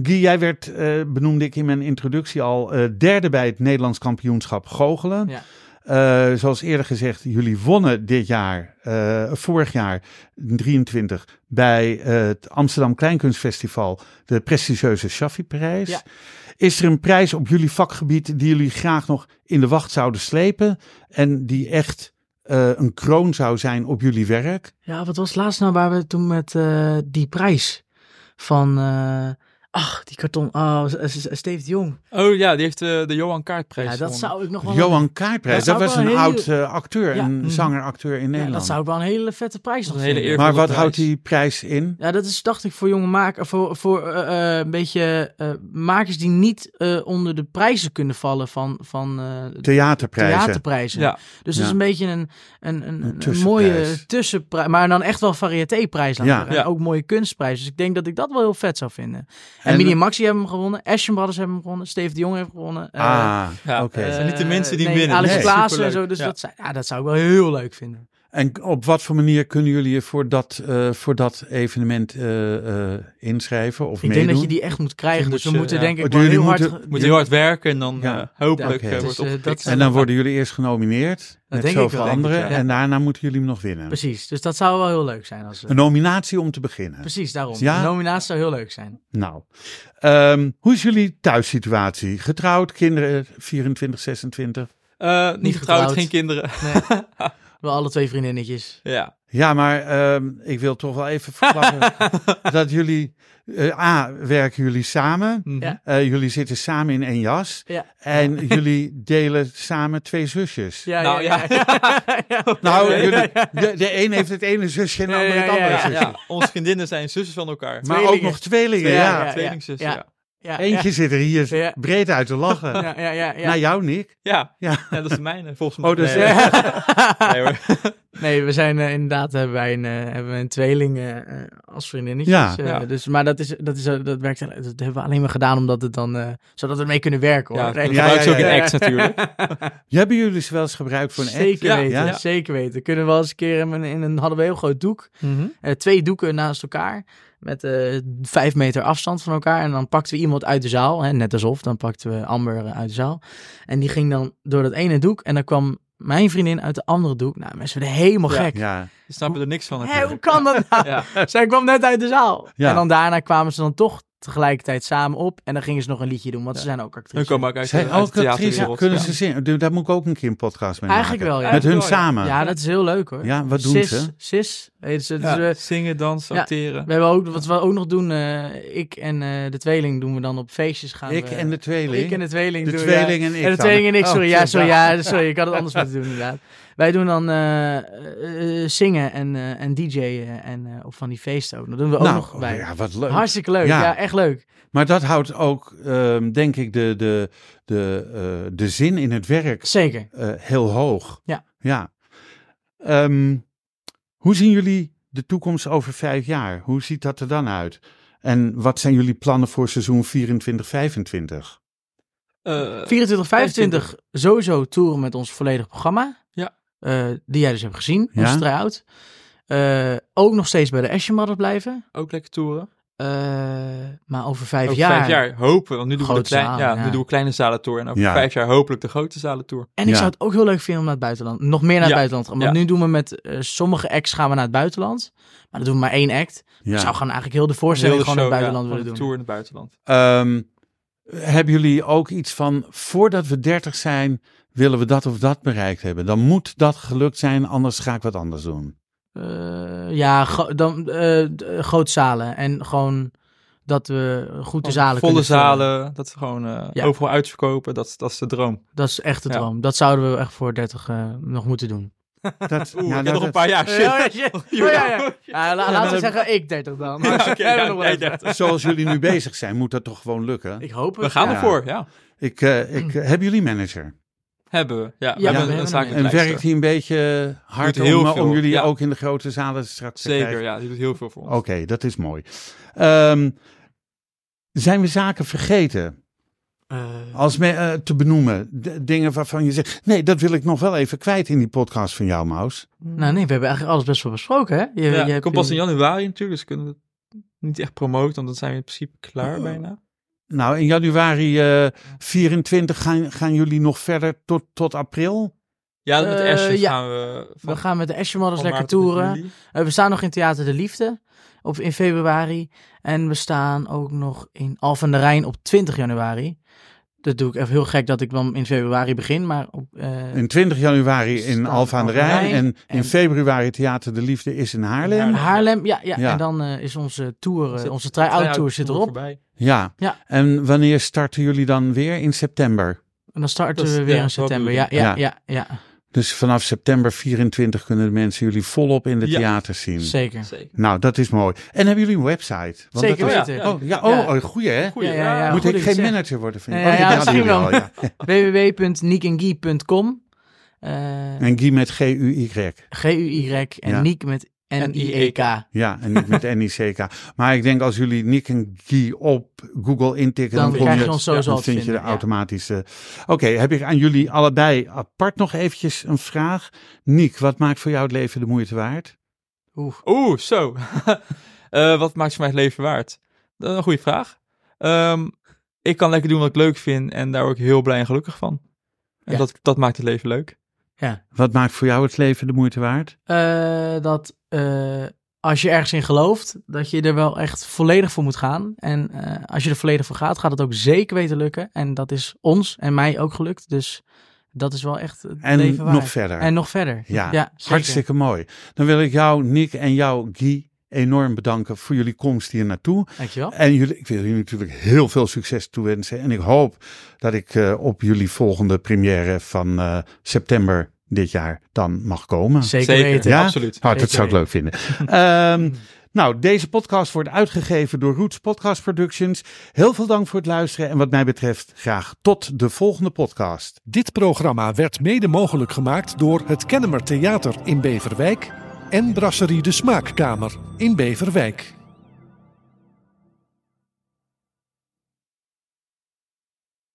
Speaker 2: Guy, jij werd, eh, benoemde ik in mijn introductie al, eh, derde bij het Nederlands kampioenschap goochelen.
Speaker 3: Ja.
Speaker 2: Eh, zoals eerder gezegd, jullie wonnen dit jaar, eh, vorig jaar, 23, bij eh, het Amsterdam Kleinkunstfestival de prestigieuze Shaffi-prijs.
Speaker 3: Ja.
Speaker 2: Is er een prijs op jullie vakgebied die jullie graag nog in de wacht zouden slepen en die echt eh, een kroon zou zijn op jullie werk?
Speaker 3: Ja, wat was laatst nou waar we toen met eh, die prijs van... eh, ach, die karton... Oh, S- S- Steve de Jong.
Speaker 4: Oh ja, die heeft eh, de Johan Kaartprijs
Speaker 3: Ja, dat
Speaker 4: gewonnen.
Speaker 3: zou ik nog wel...
Speaker 2: Johan Kaartprijs,
Speaker 3: Dat
Speaker 2: dat
Speaker 3: zou
Speaker 2: was
Speaker 3: wel
Speaker 2: een
Speaker 3: een hele-
Speaker 2: oud eh, acteur,
Speaker 3: Ja, mm.
Speaker 2: een
Speaker 4: mhm.
Speaker 2: zanger-acteur in
Speaker 3: ja,
Speaker 2: Nederland.
Speaker 3: dat zou ik wel een hele vette prijs
Speaker 4: Dat
Speaker 3: nog
Speaker 4: is een hele
Speaker 3: vinden.
Speaker 4: eer.
Speaker 2: Maar
Speaker 4: voor
Speaker 2: wat
Speaker 4: de prijs.
Speaker 2: houdt die prijs in?
Speaker 3: Ja, dat is, dacht ik, voor jonge makers, voor, voor eh, eh, een beetje eh, makers die niet eh, onder de prijzen kunnen vallen van, van eh,
Speaker 2: Theaterprijzen.
Speaker 3: theaterprijzen.
Speaker 4: Ja,
Speaker 3: Dus
Speaker 2: Ja.
Speaker 3: dat is een beetje een, een, een, een
Speaker 2: tussenprijs.
Speaker 3: mooie tussenprijs, maar dan echt wel variétéprijs. laten
Speaker 2: Ja.
Speaker 3: we zeggen.
Speaker 4: Ja.
Speaker 3: En ook mooie kunstprijs. Dus ik denk dat ik dat wel heel vet zou vinden. En,
Speaker 2: En-
Speaker 3: Mini en Maxi hebben hem gewonnen, Ashton Brothers hebben hem gewonnen, Steve de Jong heeft gewonnen. eh,
Speaker 2: ah,
Speaker 4: ja.
Speaker 2: oké.
Speaker 4: Dat
Speaker 3: eh,
Speaker 4: zijn niet de mensen die
Speaker 3: nee,
Speaker 4: winnen.
Speaker 3: Alex
Speaker 2: Nee.
Speaker 3: Klaassen en
Speaker 4: Superleuk.
Speaker 3: zo. Dus
Speaker 4: Ja.
Speaker 3: dat, zou- ja, dat zou ik wel heel leuk vinden.
Speaker 2: En op wat voor manier kunnen jullie je voor dat, eh, voor dat evenement eh, eh, inschrijven of
Speaker 3: Ik
Speaker 2: meedoen?
Speaker 3: denk dat je die echt moet krijgen.
Speaker 4: Die
Speaker 3: Dus we
Speaker 4: moet je,
Speaker 3: moeten
Speaker 4: ja.
Speaker 3: denk ik
Speaker 2: Oh,
Speaker 3: wel
Speaker 2: jullie
Speaker 3: heel hard...
Speaker 2: moeten-
Speaker 3: ge-
Speaker 4: Moet heel hard werken en dan
Speaker 2: Ja.
Speaker 4: eh, hopelijk
Speaker 2: Oké.
Speaker 4: eh,
Speaker 3: Dus,
Speaker 4: wordt
Speaker 3: eh, dat
Speaker 4: opgepikt.
Speaker 3: zijn-
Speaker 2: En dan worden jullie eerst genomineerd, net
Speaker 3: denk ik
Speaker 2: zoveel
Speaker 3: wel, denk
Speaker 2: anderen.
Speaker 3: ik, ja.
Speaker 2: En daarna moeten jullie hem nog winnen.
Speaker 3: Precies, dus dat zou wel heel leuk zijn. Als, we-
Speaker 2: Een nominatie om te beginnen.
Speaker 3: precies, daarom.
Speaker 2: Ja.
Speaker 3: De nominatie zou heel leuk zijn.
Speaker 2: Nou, ehm, hoe is jullie thuissituatie? Getrouwd, kinderen 24, 26?
Speaker 4: Eh, niet
Speaker 3: Niet
Speaker 4: getrouwd,
Speaker 3: getrouwd.
Speaker 4: geen kinderen.
Speaker 3: Wel alle twee vriendinnetjes.
Speaker 4: ja.
Speaker 2: Ja, maar ehm, ik wil toch wel even verklappen dat jullie... eh, A, werken jullie samen.
Speaker 4: Mhm.
Speaker 3: Ja.
Speaker 2: Eh, jullie zitten samen in één jas.
Speaker 3: Ja.
Speaker 2: En jullie delen samen twee zusjes.
Speaker 3: Ja,
Speaker 4: Nou,
Speaker 3: ja, ja. ja.
Speaker 2: Nou,
Speaker 4: Ja, ja,
Speaker 2: jullie, De, de een heeft het ene zusje en de
Speaker 3: Ja,
Speaker 2: ander
Speaker 3: ja,
Speaker 2: het andere
Speaker 3: ja,
Speaker 2: zusje.
Speaker 4: Ja, onze vriendinnen zijn zussen van elkaar.
Speaker 2: Maar ook
Speaker 3: Tweelingen.
Speaker 2: nog tweelingen,
Speaker 3: Ja,
Speaker 2: ja.
Speaker 3: ja.
Speaker 4: Tweelingzussen,
Speaker 3: ja.
Speaker 4: ja.
Speaker 3: Ja,
Speaker 2: Eentje zit er hier
Speaker 3: Ja.
Speaker 2: breed uit te lachen.
Speaker 3: Ja, ja, ja, ja.
Speaker 2: Naar jou, Nick.
Speaker 4: Ja.
Speaker 2: Ja.
Speaker 4: Ja, dat is de mijne, volgens mij.
Speaker 2: Oh, dus,
Speaker 4: Nee,
Speaker 2: eh,
Speaker 4: nee, hoor.
Speaker 3: Nee, we zijn eh, inderdaad hebben wij een, eh, hebben we een tweeling eh, eh, als vriendinnetjes.
Speaker 2: Ja.
Speaker 3: Eh,
Speaker 4: Ja.
Speaker 3: Dus, maar dat, is, dat, is, eh, dat, werkt, heel- dat hebben we alleen maar gedaan omdat het dan, eh, zodat we mee kunnen werken.
Speaker 4: Ja,
Speaker 3: Hoor.
Speaker 4: dat
Speaker 2: Ja,
Speaker 4: gebruikt ze
Speaker 2: ja,
Speaker 4: ook
Speaker 2: ja,
Speaker 4: in
Speaker 3: ja.
Speaker 4: ex natuurlijk.
Speaker 2: Hebben jullie ze wel eens gebruikt voor een act?
Speaker 3: Zeker
Speaker 4: Ja,
Speaker 3: weten,
Speaker 2: ja.
Speaker 3: zeker weten. Kunnen we wel eens een keer in een, in een hadden we een heel groot doek. eh, twee doeken naast elkaar. Met eh, vijf meter afstand van elkaar. En dan pakten we iemand uit de zaal. Hè, net alsof, dan pakten we Amber eh, uit de zaal. En die ging dan door dat ene doek. En dan kwam mijn vriendin uit de andere doek. Nou, mensen werden helemaal
Speaker 4: Ja.
Speaker 3: gek.
Speaker 2: Ja.
Speaker 4: Ze snappen er niks van
Speaker 3: Hé, hoe
Speaker 4: natuurlijk.
Speaker 3: kan dat nou?
Speaker 4: Ja.
Speaker 3: Zij kwam net uit de zaal.
Speaker 2: Ja.
Speaker 3: En dan daarna kwamen ze dan toch tegelijkertijd samen op. En dan gingen ze nog een liedje doen, want ze zijn ook
Speaker 4: Hun
Speaker 3: actrices.
Speaker 4: komen ook uit,
Speaker 2: Zijn
Speaker 4: uit
Speaker 2: ook
Speaker 4: de
Speaker 2: actrice,
Speaker 4: theaterwereld.
Speaker 2: kunnen
Speaker 4: Ja.
Speaker 2: ze zingen? Doe- Daar moet ik ook een keer een podcast mee
Speaker 3: Eigenlijk
Speaker 2: maken.
Speaker 3: wel, ja.
Speaker 2: Met hun
Speaker 4: Eigenlijk wel, ja.
Speaker 2: samen. Ja,
Speaker 3: Ja, dat is heel leuk hoor.
Speaker 2: wat doen
Speaker 3: sis,
Speaker 2: ze?
Speaker 3: Sis, heet ze. Dus
Speaker 4: Ja.
Speaker 3: we,
Speaker 4: Zingen, dansen,
Speaker 3: Ja.
Speaker 4: acteren.
Speaker 3: we hebben ook, wat we ook nog doen, eh, ik en eh, de tweeling doen we dan op feestjes gaan.
Speaker 2: Ik
Speaker 3: we-
Speaker 2: en de tweeling.
Speaker 3: Ik en de tweeling.
Speaker 2: De
Speaker 3: doen,
Speaker 2: tweeling
Speaker 3: ja.
Speaker 2: en ik
Speaker 3: En de
Speaker 2: dan.
Speaker 3: tweeling en ik, sorry.
Speaker 2: Oh,
Speaker 3: ja,
Speaker 2: shit,
Speaker 3: sorry,
Speaker 2: ja.
Speaker 3: ja, sorry. Ik had het anders moeten doen, inderdaad. Wij doen dan eh, eh, eh, zingen en, eh, en DJ'en en eh, op van die feesten ook. Dat doen we ook
Speaker 2: nou,
Speaker 3: nog bij.
Speaker 2: ja, wat leuk.
Speaker 3: Hartstikke leuk.
Speaker 2: Ja.
Speaker 3: ja, echt leuk.
Speaker 2: Maar dat houdt ook, ehm, denk ik, de, de, de, eh, de zin in het werk
Speaker 3: Zeker.
Speaker 2: eh, heel hoog.
Speaker 3: Ja.
Speaker 2: ja. Ehm, hoe zien jullie de toekomst over vijf jaar? Hoe ziet dat er dan uit? En wat zijn jullie plannen voor seizoen 24-25?
Speaker 4: Eh,
Speaker 3: 24, 25 sowieso toeren met ons volledig programma.
Speaker 4: Ja.
Speaker 3: Eh, die jij dus hebt gezien, onze
Speaker 2: Ja.
Speaker 3: try-out. Eh, ook nog steeds bij de Ashen Brothers blijven.
Speaker 4: ook lekker toeren.
Speaker 3: Eh, maar over vijf
Speaker 4: Over
Speaker 3: jaar.
Speaker 4: vijf jaar hopen. Want nu doen, we de
Speaker 3: Grote
Speaker 4: klein,
Speaker 3: zalen,
Speaker 4: ja,
Speaker 3: ja.
Speaker 4: nu doen we kleine zalentour. En over
Speaker 2: Ja.
Speaker 4: vijf jaar hopelijk de grote zalentour.
Speaker 3: En ik
Speaker 2: Ja.
Speaker 3: zou het ook heel leuk vinden om naar het buitenland. Nog meer naar het
Speaker 4: Ja.
Speaker 3: buitenland te gaan. Want
Speaker 4: Ja.
Speaker 3: nu doen we met eh, sommige acts gaan we naar het buitenland. Maar dat doen we maar één act.
Speaker 2: Ja.
Speaker 3: Ik zou gewoon eigenlijk heel de voorstelling
Speaker 4: Heel de
Speaker 3: gewoon naar het
Speaker 4: show,
Speaker 3: buitenland
Speaker 4: ja,
Speaker 3: willen
Speaker 4: gewoon
Speaker 3: doen.
Speaker 4: de tour in het buitenland.
Speaker 2: Ehm, hebben jullie ook iets van, voordat we 30 zijn, willen we dat of dat bereikt hebben? Dan moet dat gelukt zijn, anders ga ik wat anders doen.
Speaker 3: Eh, ja, gro- dan eh, d- eh, grote zalen. En gewoon dat we goed de zalen
Speaker 4: Volle
Speaker 3: kunnen vullen.
Speaker 4: zalen. Dat we gewoon eh,
Speaker 3: Ja.
Speaker 4: overal uitverkopen. Dat, dat is de droom.
Speaker 3: Dat is echt de
Speaker 4: Ja.
Speaker 3: droom. Dat zouden we echt voor 30 eh, nog moeten doen.
Speaker 2: Dat,
Speaker 4: Oeh,
Speaker 2: ja,
Speaker 4: ik heb
Speaker 2: nou, dat-
Speaker 4: nog een paar jaar. Ah, Shit.
Speaker 3: Ja, ja, ja. Ja, la- laten
Speaker 2: dat-
Speaker 3: we zeggen, ik 30 dan.
Speaker 4: Ja, oké,
Speaker 3: Hebben we
Speaker 4: ja,
Speaker 3: nog wel
Speaker 4: jij
Speaker 3: even.
Speaker 4: 30.
Speaker 2: Zoals jullie nu bezig zijn, moet dat toch gewoon lukken?
Speaker 3: Ik hoop het.
Speaker 4: We gaan
Speaker 2: Ja.
Speaker 4: ervoor, ja.
Speaker 2: Ik, eh, ik,
Speaker 4: Mm.
Speaker 2: eh, hebben jullie manager?
Speaker 4: Hebben we. Ja, we
Speaker 3: we
Speaker 4: hebben
Speaker 3: hebben
Speaker 4: een
Speaker 3: hem.
Speaker 4: zakelijk
Speaker 2: En
Speaker 4: lijster.
Speaker 2: werkt hij een beetje hard
Speaker 4: Doet heel
Speaker 2: om, eh, om
Speaker 4: veel,
Speaker 2: jullie
Speaker 4: ja.
Speaker 2: ook in de grote zalen straks te
Speaker 4: Zeker,
Speaker 2: krijgen?
Speaker 4: ja. Die doet heel veel voor ons.
Speaker 2: Oké, dat is mooi. Ehm, zijn we zaken vergeten
Speaker 3: Eh,
Speaker 2: als me, eh, te benoemen? D- dingen waarvan je zegt, nee, dat wil ik nog wel even kwijt in die podcast van jou, Maus.
Speaker 3: nou nee, we hebben eigenlijk alles best wel besproken, hè? Je,
Speaker 4: Ja,
Speaker 3: je hebt
Speaker 4: komt pas in
Speaker 3: je-
Speaker 4: januari natuurlijk, dus kunnen we het niet echt promoten, want dan zijn we in principe
Speaker 3: Oh.
Speaker 4: klaar bijna.
Speaker 2: Nou, in januari eh 24 gaan, gaan jullie nog verder tot, tot april?
Speaker 4: Ja, met
Speaker 3: Eh,
Speaker 4: Ashes
Speaker 3: ja.
Speaker 4: gaan we van,
Speaker 3: We gaan met de Ashen Models
Speaker 4: van
Speaker 3: lekker
Speaker 4: maart tot
Speaker 3: toeren.
Speaker 4: juli.
Speaker 3: Eh, we staan nog in Theater de Liefde op, in februari. En we staan ook nog in Alphen aan de Rijn op 20 januari. Dat doe ik even heel gek dat ik dan in februari begin, maar op, eh,
Speaker 2: In 20 januari in
Speaker 3: Staan
Speaker 2: Alfa aan de
Speaker 3: aan de
Speaker 2: Rijn
Speaker 3: Rijn
Speaker 2: en in
Speaker 3: en-
Speaker 2: februari Theater de Liefde is in Haarlem.
Speaker 4: Haarlem.
Speaker 3: Haarlem. Ja, ja.
Speaker 2: Ja.
Speaker 3: en dan eh, is onze tour, eh,
Speaker 4: Zit-
Speaker 3: onze
Speaker 4: try-out
Speaker 3: try-out tour zit erop.
Speaker 4: voorbij.
Speaker 2: Ja.
Speaker 3: Ja.
Speaker 2: En wanneer starten jullie dan weer? In september.
Speaker 3: En dan starten
Speaker 4: Dat is-
Speaker 3: we weer
Speaker 4: ja,
Speaker 3: in
Speaker 4: dat
Speaker 3: september.
Speaker 4: bedoel
Speaker 3: Ja,
Speaker 4: ik.
Speaker 3: ja, ja, ja,
Speaker 2: Dus vanaf september 24 kunnen de mensen jullie volop in de
Speaker 4: Ja.
Speaker 2: theaters zien.
Speaker 3: zeker.
Speaker 4: Zeker.
Speaker 2: Nou, dat is mooi. En hebben jullie een website? Want
Speaker 3: Zeker
Speaker 2: dat is-
Speaker 3: weten.
Speaker 4: ja.
Speaker 2: Oh, ja, oh,
Speaker 3: Ja.
Speaker 2: oh, goeie hè?
Speaker 4: Goeie.
Speaker 3: Ja, ja, ja.
Speaker 2: Moet
Speaker 3: goed
Speaker 2: ik
Speaker 3: dat je
Speaker 2: geen
Speaker 3: het
Speaker 2: manager worden van
Speaker 3: Ja,
Speaker 2: jullie?
Speaker 3: ja,
Speaker 2: dat
Speaker 3: misschien
Speaker 2: doen
Speaker 3: wel.
Speaker 2: jullie al, ja.
Speaker 3: www.niekengie.com. Eh
Speaker 2: En Guy met G-U-Y.
Speaker 3: G-U-Y en
Speaker 2: Ja. E
Speaker 3: Niek met E N-I-E-K.
Speaker 2: Ja, en niet met NICK. Maar ik denk als jullie Nick en Guy op Google intikken,
Speaker 3: Dan
Speaker 2: kom
Speaker 3: krijg je
Speaker 2: het-
Speaker 3: ons sowieso
Speaker 2: dan
Speaker 3: te
Speaker 2: vind je de
Speaker 3: vinden, ja.
Speaker 2: automatische. Oké, heb ik aan jullie allebei apart nog eventjes een vraag. Nick, wat maakt voor jou het leven de moeite waard?
Speaker 3: Oeh.
Speaker 4: Oeh, zo. Eh, wat maakt voor mij het leven waard? Dat is een goede vraag. Ehm, ik kan lekker doen wat ik leuk vind en daar word ik heel blij en gelukkig van. En
Speaker 3: Ja.
Speaker 4: dat, dat maakt het leven leuk.
Speaker 2: Wat maakt voor jou het leven de moeite waard?
Speaker 3: Eh, dat eh, als je ergens in gelooft, dat je er wel echt volledig voor moet gaan. En eh, als je er volledig voor gaat, gaat het ook zeker weten lukken. En dat is ons en mij ook gelukt. Dus dat is wel echt het
Speaker 2: En
Speaker 3: leven waard.
Speaker 2: nog verder.
Speaker 3: En nog verder.
Speaker 2: Ja,
Speaker 3: zeker.
Speaker 2: Hartstikke mooi. Dan wil ik jou, Nick en jou, Guy, enorm bedanken voor jullie komst hier naartoe.
Speaker 3: Dankjewel.
Speaker 2: En jullie, ik wil jullie natuurlijk heel veel succes toewensen. En ik hoop dat ik eh, op jullie volgende première van eh, september dit jaar dan mag komen.
Speaker 3: Zeker, weten.
Speaker 2: Ja?
Speaker 4: absoluut.
Speaker 2: Oh, dat zou ik
Speaker 3: Zeker.
Speaker 2: leuk vinden. Ehm, nou, deze podcast wordt uitgegeven door Roots Podcast Productions. Heel veel dank voor het luisteren. En wat mij betreft graag tot de volgende podcast.
Speaker 1: Dit programma werd mede mogelijk gemaakt door het Kennemer Theater in Beverwijk en Brasserie de Smaakkamer in Beverwijk.